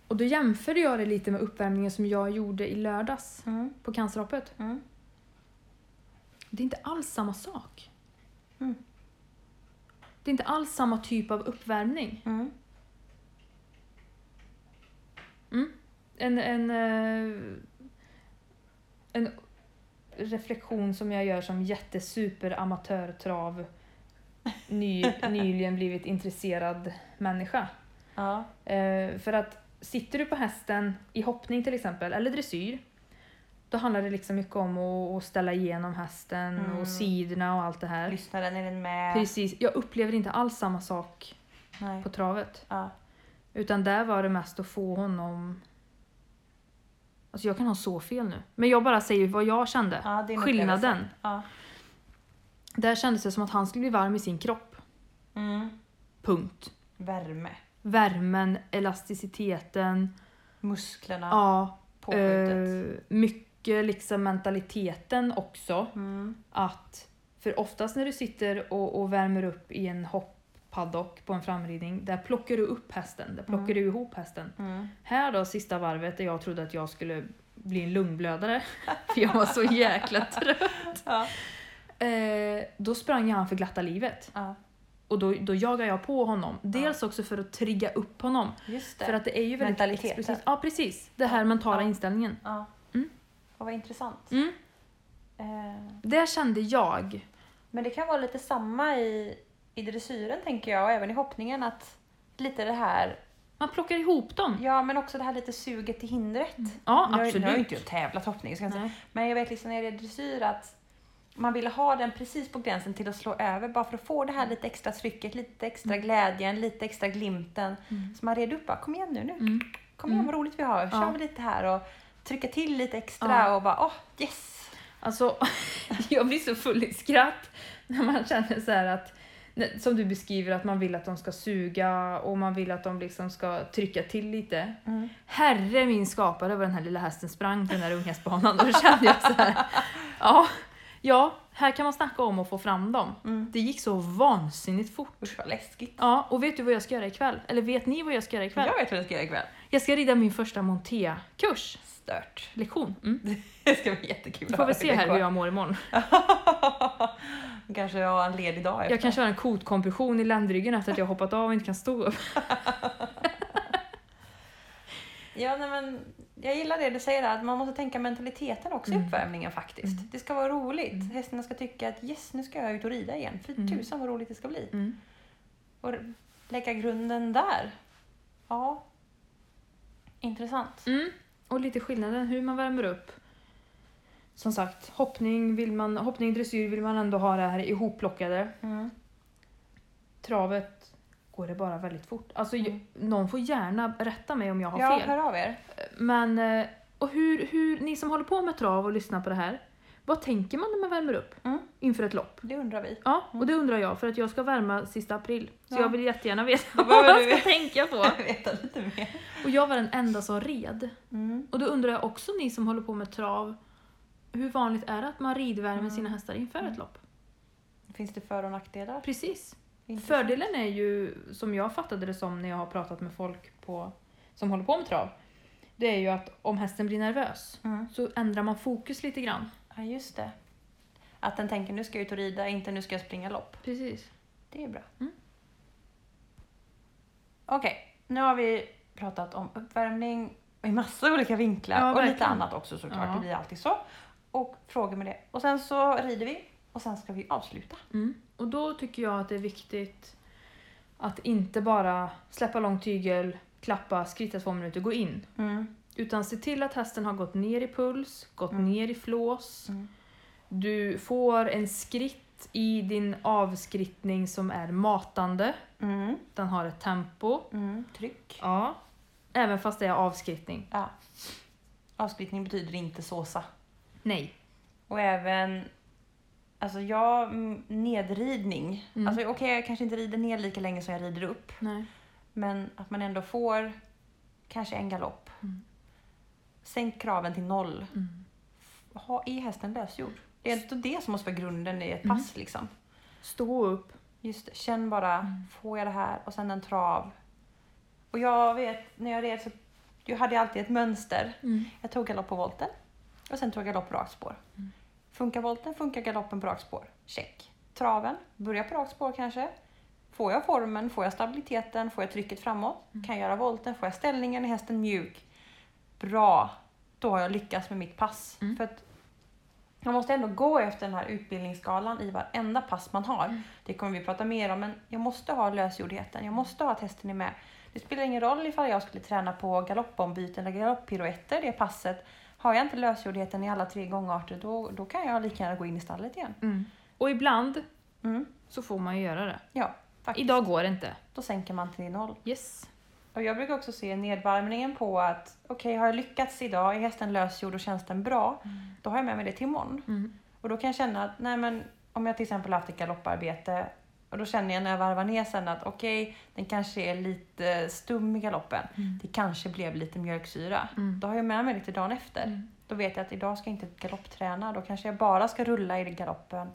Speaker 2: och då jämförde jag det lite med uppvärmningen som jag gjorde i lördags
Speaker 1: Mm.
Speaker 2: på cancerhoppet.
Speaker 1: Mm.
Speaker 2: Det är inte alls samma sak.
Speaker 1: Mm.
Speaker 2: Det är inte alls samma typ av uppvärmning.
Speaker 1: Mm.
Speaker 2: En, en, eh, en reflektion som jag gör som jättesuper amatörtrav ny, nyligen blivit intresserad människa.
Speaker 1: Ja.
Speaker 2: Eh, för att sitter du på hästen i hoppning till exempel, eller dressyr, då handlar det liksom mycket om att, att ställa igenom hästen
Speaker 1: Mm.
Speaker 2: och sidorna och allt det här.
Speaker 1: Lyssnaren, är den med?
Speaker 2: Precis, jag upplever inte alls samma sak
Speaker 1: Nej.
Speaker 2: på travet.
Speaker 1: Ja.
Speaker 2: Utan där var det mest att få honom... Alltså jag kan ha så fel nu. Men jag bara säger vad jag kände.
Speaker 1: Ja, din
Speaker 2: Skillnaden.
Speaker 1: upplevelse. Ja.
Speaker 2: Där kändes det som att han skulle bli varm i sin kropp.
Speaker 1: Mm.
Speaker 2: Punkt.
Speaker 1: Värme.
Speaker 2: Värmen, elasticiteten,
Speaker 1: Musklerna.
Speaker 2: ja,
Speaker 1: På skjutet.
Speaker 2: eh, mycket liksom mentaliteten också.
Speaker 1: Mm.
Speaker 2: Att, för oftast när du sitter och, och värmer upp i en hopppaddock på en framridning, där plockar du upp hästen, där plockar
Speaker 1: Mm.
Speaker 2: du ihop hästen.
Speaker 1: Mm.
Speaker 2: Här då, sista varvet, där jag trodde att jag skulle bli en lungblödare, för jag var så jäkla trött.
Speaker 1: Ja.
Speaker 2: Eh, då sprang han för glatta livet.
Speaker 1: ja,
Speaker 2: Och då, då jagade jag på honom. Dels också för att trigga upp honom.
Speaker 1: just det.
Speaker 2: För att det är ju väldigt
Speaker 1: Mentaliteten.
Speaker 2: explosivt. Ja, precis. Det här mentala
Speaker 1: Ja.
Speaker 2: inställningen.
Speaker 1: ja.
Speaker 2: Mm.
Speaker 1: Och vad intressant.
Speaker 2: Mm.
Speaker 1: Eh,
Speaker 2: Det kände jag.
Speaker 1: Men det kan vara lite samma i, i dressyren tänker jag och även i hoppningen att lite det här,
Speaker 2: Man plockar ihop dem.
Speaker 1: ja men också det här lite suget till hindret.
Speaker 2: Mm. Ja,
Speaker 1: nu, har- nu har ju
Speaker 2: absolut.
Speaker 1: inte jag tävlat hoppning, ska jag säga.
Speaker 2: Nej.
Speaker 1: men jag vet liksom när det är dressyr att man vill ha den precis på gränsen till att slå över bara för att få
Speaker 2: Mm.
Speaker 1: det här lite extra trycket, lite extra glädjen, lite extra glimten.
Speaker 2: Mm.
Speaker 1: Så man red upp bara, kom igen nu, nu
Speaker 2: Mm.
Speaker 1: kom igen vad roligt vi har, kör
Speaker 2: Ja.
Speaker 1: vi lite här och trycka till lite extra
Speaker 2: Ja.
Speaker 1: och bara, åh oh, yes!
Speaker 2: Alltså, jag blir så full i skratt när man känner så här att, som du beskriver, att man vill att de ska suga och man vill att de liksom ska trycka till lite.
Speaker 1: Mm.
Speaker 2: Herre min skapare vad den här lilla hästen sprang på den här unghästbanan. Då kände jag så här, ja, ja, här kan man snacka om att få fram dem.
Speaker 1: Mm.
Speaker 2: Det gick så vansinnigt fort.
Speaker 1: Usch vad läskigt.
Speaker 2: Ja, och vet du vad jag ska göra ikväll? Eller vet ni vad jag ska göra ikväll?
Speaker 1: Jag vet vad jag ska göra ikväll.
Speaker 2: Jag ska rida min första montea-kurs,
Speaker 1: Stört.
Speaker 2: lektion. Mm.
Speaker 1: Det ska bli jättekul.
Speaker 2: Vi
Speaker 1: att
Speaker 2: får väl
Speaker 1: höra
Speaker 2: se
Speaker 1: det
Speaker 2: här
Speaker 1: går.
Speaker 2: hur jag mår imorgon.
Speaker 1: Kanske jag har en ledig dag efter.
Speaker 2: Jag kan köra en kotkompression i ländryggen efter att jag hoppat av och inte kan stå upp.
Speaker 1: Ja, nej, men jag gillar det du säger där, att man måste tänka mentaliteten också i
Speaker 2: Mm.
Speaker 1: uppvärmningen faktiskt.
Speaker 2: Mm.
Speaker 1: Det ska vara roligt.
Speaker 2: Mm.
Speaker 1: Hästarna ska tycka att yes, nu ska jag ut och rida igen. Fy
Speaker 2: Mm.
Speaker 1: tusan vad roligt det ska bli. Och lägga grunden där. Ja. Intressant.
Speaker 2: Mm. Och lite skillnaden hur man värmer upp. Som sagt, hoppning, vill man, hoppning dressyr vill man ändå ha det här ihopplockade.
Speaker 1: Mm.
Speaker 2: Travet går det bara väldigt fort. Alltså, ju-
Speaker 1: Mm.
Speaker 2: Någon får gärna rätta mig om jag har
Speaker 1: Ja,
Speaker 2: fel.
Speaker 1: hör av er.
Speaker 2: Men, eh, och hur, hur, ni som håller på med trav och lyssnar på det här, vad tänker man när man värmer upp
Speaker 1: Mm.
Speaker 2: inför ett lopp?
Speaker 1: Det undrar vi.
Speaker 2: Ja, och det undrar jag för att jag ska värma sista april. Så
Speaker 1: Ja.
Speaker 2: jag vill jättegärna veta
Speaker 1: Då
Speaker 2: vad
Speaker 1: behöver
Speaker 2: man
Speaker 1: du
Speaker 2: ska
Speaker 1: veta.
Speaker 2: tänka på.
Speaker 1: Jag veta lite mer.
Speaker 2: Och jag var den enda som red.
Speaker 1: Mm.
Speaker 2: Och då undrar jag också ni som håller på med trav, hur vanligt är det att man ridvärmer sina hästar inför ett lopp?
Speaker 1: Finns det för och nackdelar?
Speaker 2: Precis.
Speaker 1: Intressant.
Speaker 2: Fördelen är ju, som jag fattade det som när jag har pratat med folk på, som håller på med trav, det är ju att om hästen blir nervös
Speaker 1: Mm.
Speaker 2: så ändrar man fokus lite grann.
Speaker 1: Ja, just det. Att den tänker nu ska jag ut och rida, inte nu ska jag springa lopp.
Speaker 2: Precis.
Speaker 1: Det är bra.
Speaker 2: Mm.
Speaker 1: Okej, nu har vi pratat om uppvärmning i massa olika vinklar
Speaker 2: Ja,
Speaker 1: och lite
Speaker 2: verkligen.
Speaker 1: annat också såklart,
Speaker 2: Ja.
Speaker 1: det blir alltid så. Och frågor med det. Och sen så rider vi och sen ska vi avsluta.
Speaker 2: Mm. Och då tycker jag att det är viktigt att inte bara släppa lång tygel, klappa, skritta två minuter, gå in. Mm. Utan se till att hästen har gått ner i puls, gått
Speaker 1: Mm.
Speaker 2: ner i flås.
Speaker 1: Mm.
Speaker 2: Du får en skritt i din avskrittning som är matande.
Speaker 1: Mm.
Speaker 2: Den har ett tempo.
Speaker 1: Mm. Tryck.
Speaker 2: Ja. Även fast det är avskrittning.
Speaker 1: Ja. Avskrittning betyder inte såsa.
Speaker 2: Nej.
Speaker 1: Och även alltså jag, mm, nedridning.
Speaker 2: Mm.
Speaker 1: Alltså, Okej, jag kanske inte rider ner lika länge som jag rider upp.
Speaker 2: Nej.
Speaker 1: Men att man ändå får kanske en galopp.
Speaker 2: Mm.
Speaker 1: Sänk kraven till noll.
Speaker 2: Mm.
Speaker 1: Ha, är hästen lösgjord? Det är ändå det som måste vara grunden i ett
Speaker 2: Mm.
Speaker 1: pass. Liksom.
Speaker 2: Stå upp.
Speaker 1: Just det, känn bara,
Speaker 2: Mm.
Speaker 1: får jag det här? Och sen en trav. Och jag vet, när jag red så jag hade jag alltid ett mönster. Jag tog galopp på volten och sen tog jag galopp på rakt spår.
Speaker 2: Mm.
Speaker 1: Funkar volten, funkar galoppen på rakt spår. Check. Traven, börja på rakt spår kanske. Får jag formen, får jag stabiliteten, får jag trycket framåt?
Speaker 2: Mm.
Speaker 1: Kan jag göra volten, får jag ställningen, är hästen mjuk? Bra! Då har jag lyckats med mitt pass.
Speaker 2: Mm.
Speaker 1: För att man måste ändå gå efter den här utbildningsskalan i varenda pass man har.
Speaker 2: Mm.
Speaker 1: Det kommer vi prata mer om, men jag måste ha lösgjordheten. Jag måste ha att hästen är med. Det spelar ingen roll ifall jag skulle träna på galoppombyten eller galopppiruetter det passet. Har jag inte lösgjordheten i alla tre gångarter då, då kan jag lika gärna gå in i stallet igen.
Speaker 2: Mm. Och ibland
Speaker 1: Mm.
Speaker 2: så får man ju göra det.
Speaker 1: Ja, faktiskt.
Speaker 2: Idag går det inte.
Speaker 1: Då sänker man till noll.
Speaker 2: Yes.
Speaker 1: Och jag brukar också se nedvarvningen på att okej, har jag lyckats idag, är hästen lösgjord och känns den bra,
Speaker 2: Mm.
Speaker 1: då har jag med mig det till imorgon. Och då kan jag känna att nej men, om jag till exempel haft ett galopparbete och då känner jag när jag varvar ner sen att okej, den kanske är lite stum i galoppen. Det kanske blev lite mjölksyra.
Speaker 2: Mm.
Speaker 1: Då har jag med mig det till dagen efter.
Speaker 2: Mm.
Speaker 1: Då vet jag att idag ska jag inte galoppträna. Då kanske jag bara ska rulla i galoppen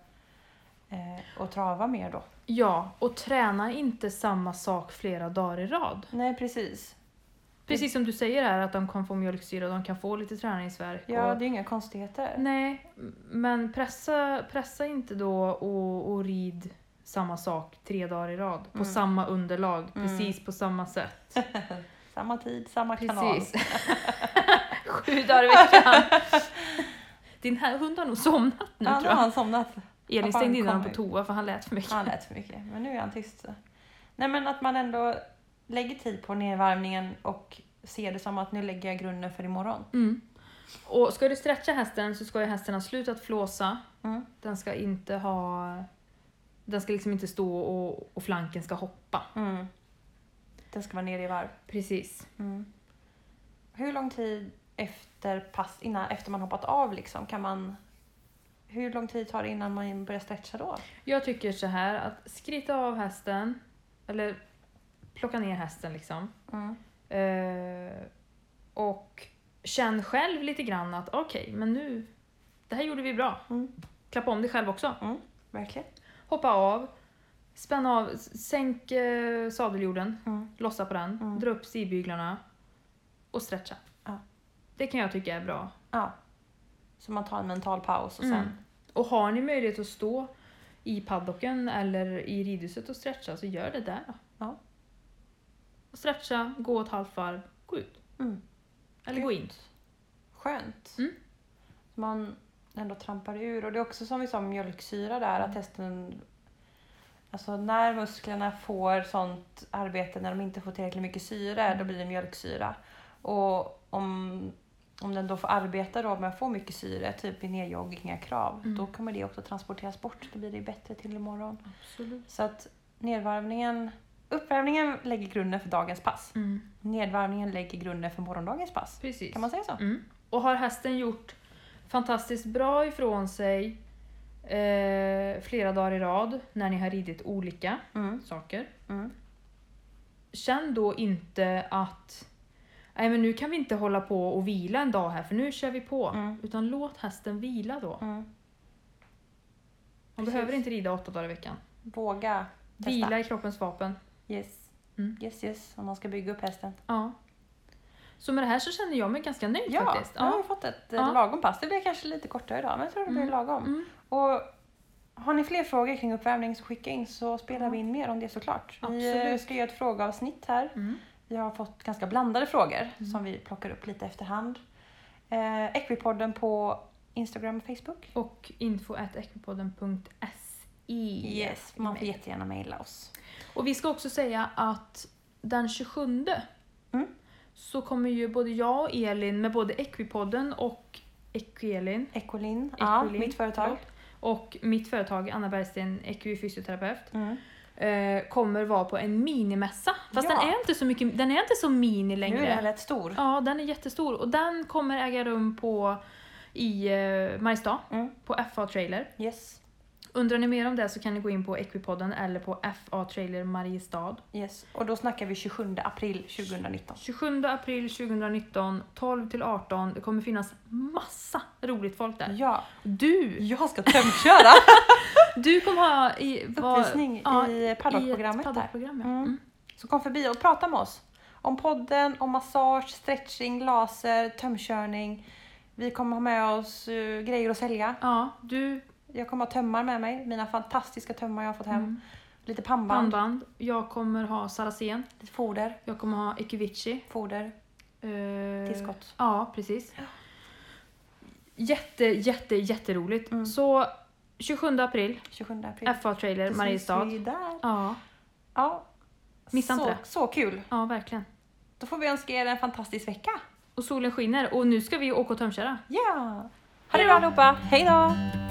Speaker 1: eh, och trava mer då.
Speaker 2: Ja, och träna inte samma sak flera dagar i rad.
Speaker 1: Nej, precis.
Speaker 2: Precis som du säger här att de kan få mjölksyra, de kan få lite träningsvärk.
Speaker 1: Ja,
Speaker 2: och...
Speaker 1: det är inga konstigheter.
Speaker 2: Nej, men pressa, pressa inte då och, och rid samma sak tre dagar i rad. På
Speaker 1: Mm.
Speaker 2: samma underlag,
Speaker 1: Mm.
Speaker 2: precis på samma sätt.
Speaker 1: Samma tid, samma kanal.
Speaker 2: Precis. Sju dagar i veckan. Din här hund har nog somnat nu
Speaker 1: Ja, nu
Speaker 2: tror
Speaker 1: har
Speaker 2: jag.
Speaker 1: han somnat.
Speaker 2: Elin
Speaker 1: han
Speaker 2: stängde in honom på
Speaker 1: kommer.
Speaker 2: toa för han lät för mycket.
Speaker 1: Han lät för mycket, men nu är han tyst. Nej, men att man ändå lägger tid på nedvarvningen och ser det som att nu lägger jag grunden för imorgon.
Speaker 2: Mm. Och ska du stretcha hästen så ska ju hästen ha slutat flåsa.
Speaker 1: Mm.
Speaker 2: Den ska inte ha... Den ska liksom inte stå och, och flanken ska hoppa.
Speaker 1: Mm. Den ska vara nere i varv.
Speaker 2: Precis.
Speaker 1: Mm. Hur lång tid efter pass, innan, efter man hoppat av liksom, kan man... Hur lång tid tar det innan man börjar stretcha då?
Speaker 2: Jag tycker så här att skritta av hästen, eller plocka ner hästen liksom.
Speaker 1: Mm.
Speaker 2: Eh, och känn själv lite grann att okej, men nu... Det här gjorde vi bra.
Speaker 1: Mm.
Speaker 2: Klappa om dig själv också.
Speaker 1: Verkligen.
Speaker 2: Hoppa av. Spänn av, s- sänk eh, sadeljorden.
Speaker 1: Mm.
Speaker 2: lossa på den,
Speaker 1: Mm.
Speaker 2: dra upp sidbyglarna och stretcha.
Speaker 1: Ja.
Speaker 2: Det kan jag tycka är bra.
Speaker 1: Ja. Så man tar en mental paus och sen...
Speaker 2: Mm. Och har ni möjlighet att stå i paddocken eller i ridhuset och stretcha så gör det där. då.
Speaker 1: Ja.
Speaker 2: Och stretcha, gå ett halvt varv, gå ut.
Speaker 1: Mm.
Speaker 2: Eller gå in.
Speaker 1: Skönt.
Speaker 2: Mm.
Speaker 1: Man ändå trampar ur. Och det är också som vi sa med mjölksyra där,
Speaker 2: Mm.
Speaker 1: att hästen... Alltså när musklerna får sånt arbete, när de inte får tillräckligt mycket syre,
Speaker 2: Mm.
Speaker 1: då blir det mjölksyra. Och om, om den då får arbeta då med att få mycket syre, typ i nedjogg, inga krav,
Speaker 2: Mm.
Speaker 1: då kommer det också transporteras bort. Då blir det bättre till imorgon.
Speaker 2: Absolut.
Speaker 1: Så att nedvarvningen... Uppvärmningen lägger grunden för dagens pass.
Speaker 2: Mm.
Speaker 1: Nedvarvningen lägger grunden för morgondagens pass.
Speaker 2: Precis.
Speaker 1: Kan man säga så?
Speaker 2: Mm. Och har hästen gjort fantastiskt bra ifrån sig eh, flera dagar i rad när ni har ridit olika
Speaker 1: Mm.
Speaker 2: saker
Speaker 1: Mm.
Speaker 2: känn då inte att Nej men nu kan vi inte hålla på och vila en dag här för nu kör vi på.
Speaker 1: Mm.
Speaker 2: Utan låt hästen vila då. Man
Speaker 1: Mm. Precis.
Speaker 2: behöver inte rida åtta dagar i veckan.
Speaker 1: Våga testa.
Speaker 2: Vila i kroppens vapen.
Speaker 1: Yes.
Speaker 2: Mm.
Speaker 1: yes, yes, om man ska bygga upp hästen.
Speaker 2: Ja. Så med det här så känner jag mig ganska nöjd
Speaker 1: Ja,
Speaker 2: faktiskt.
Speaker 1: nu har vi fått ett eh,
Speaker 2: Ja.
Speaker 1: lagom pass. Det blir kanske lite kortare idag, men jag tror det blir
Speaker 2: Mm.
Speaker 1: lagom.
Speaker 2: Mm.
Speaker 1: Och har ni fler frågor kring uppvärmning så skicka in så spelar vi in mer om det såklart. Vi eh,
Speaker 2: Absolut.
Speaker 1: ska göra ett frågeavsnitt här.
Speaker 2: Mm.
Speaker 1: Vi har fått ganska blandade frågor som vi plockar upp lite efterhand. Eh, Equipodden på Instagram och Facebook.
Speaker 2: Och info at equipodden.se.
Speaker 1: Yes, man får jättegärna mejla oss.
Speaker 2: Och vi ska också säga att den 27
Speaker 1: Mm.
Speaker 2: så kommer ju både jag och Elin med både Equipodden och Equielin
Speaker 1: Ecolin, ja,
Speaker 2: Ecolin,
Speaker 1: mitt företag.
Speaker 2: förlåt. Och mitt företag Anna Bergsten, EQ fysioterapeut,
Speaker 1: Mm.
Speaker 2: eh, kommer vara på en minimässa. Fast
Speaker 1: Ja.
Speaker 2: den, är inte så mycket, den är inte så mini
Speaker 1: Nu är den
Speaker 2: längre.
Speaker 1: rätt stor.
Speaker 2: Ja, den är jättestor och den kommer äga rum på i eh, Mariestad
Speaker 1: Mm.
Speaker 2: på FA Trailer.
Speaker 1: Yes.
Speaker 2: Undrar ni mer om det så kan ni gå in på Equipodden eller på FA Trailer Mariestad.
Speaker 1: Yes. Och då snackar vi 27 april 2019.
Speaker 2: 27 april 2019, 12 till 18. Det kommer finnas massa roligt folk där.
Speaker 1: Ja,
Speaker 2: Du!
Speaker 1: jag ska tömköra
Speaker 2: Du kommer ha i, vad-
Speaker 1: uppvisning
Speaker 2: ja,
Speaker 1: i
Speaker 2: i ett
Speaker 1: paddockprogrammet där.
Speaker 2: paddockprogram, ja.
Speaker 1: Mm.
Speaker 2: Mm.
Speaker 1: Så kom förbi och prata med oss. Om podden, om massage, stretching, laser, tömkörning. Vi kommer ha med oss eh, grejer att sälja.
Speaker 2: ja, du,
Speaker 1: Jag kommer ha tömmar med mig, mina fantastiska tömmar jag har fått hem.
Speaker 2: mm.
Speaker 1: Lite pannband,
Speaker 2: pannband. Jag kommer ha Saracen.
Speaker 1: lite foder,
Speaker 2: Jag kommer ha Ekivici.
Speaker 1: foder,
Speaker 2: Eh,
Speaker 1: tillskott.
Speaker 2: Ja, precis. Jätte, jätte, jätteroligt.
Speaker 1: Mm.
Speaker 2: Så 27 april,
Speaker 1: 27 april.
Speaker 2: FA Trailer,
Speaker 1: Då syns
Speaker 2: Mariestad.
Speaker 1: vi där.
Speaker 2: Ja,
Speaker 1: Ja.
Speaker 2: Missa
Speaker 1: så,
Speaker 2: inte det.
Speaker 1: så kul!
Speaker 2: ja, verkligen.
Speaker 1: Då får vi önska er en fantastisk vecka.
Speaker 2: Och solen skiner och nu ska vi åka och tömköra.
Speaker 1: Ja! Ha det bra allihopa! Hej då!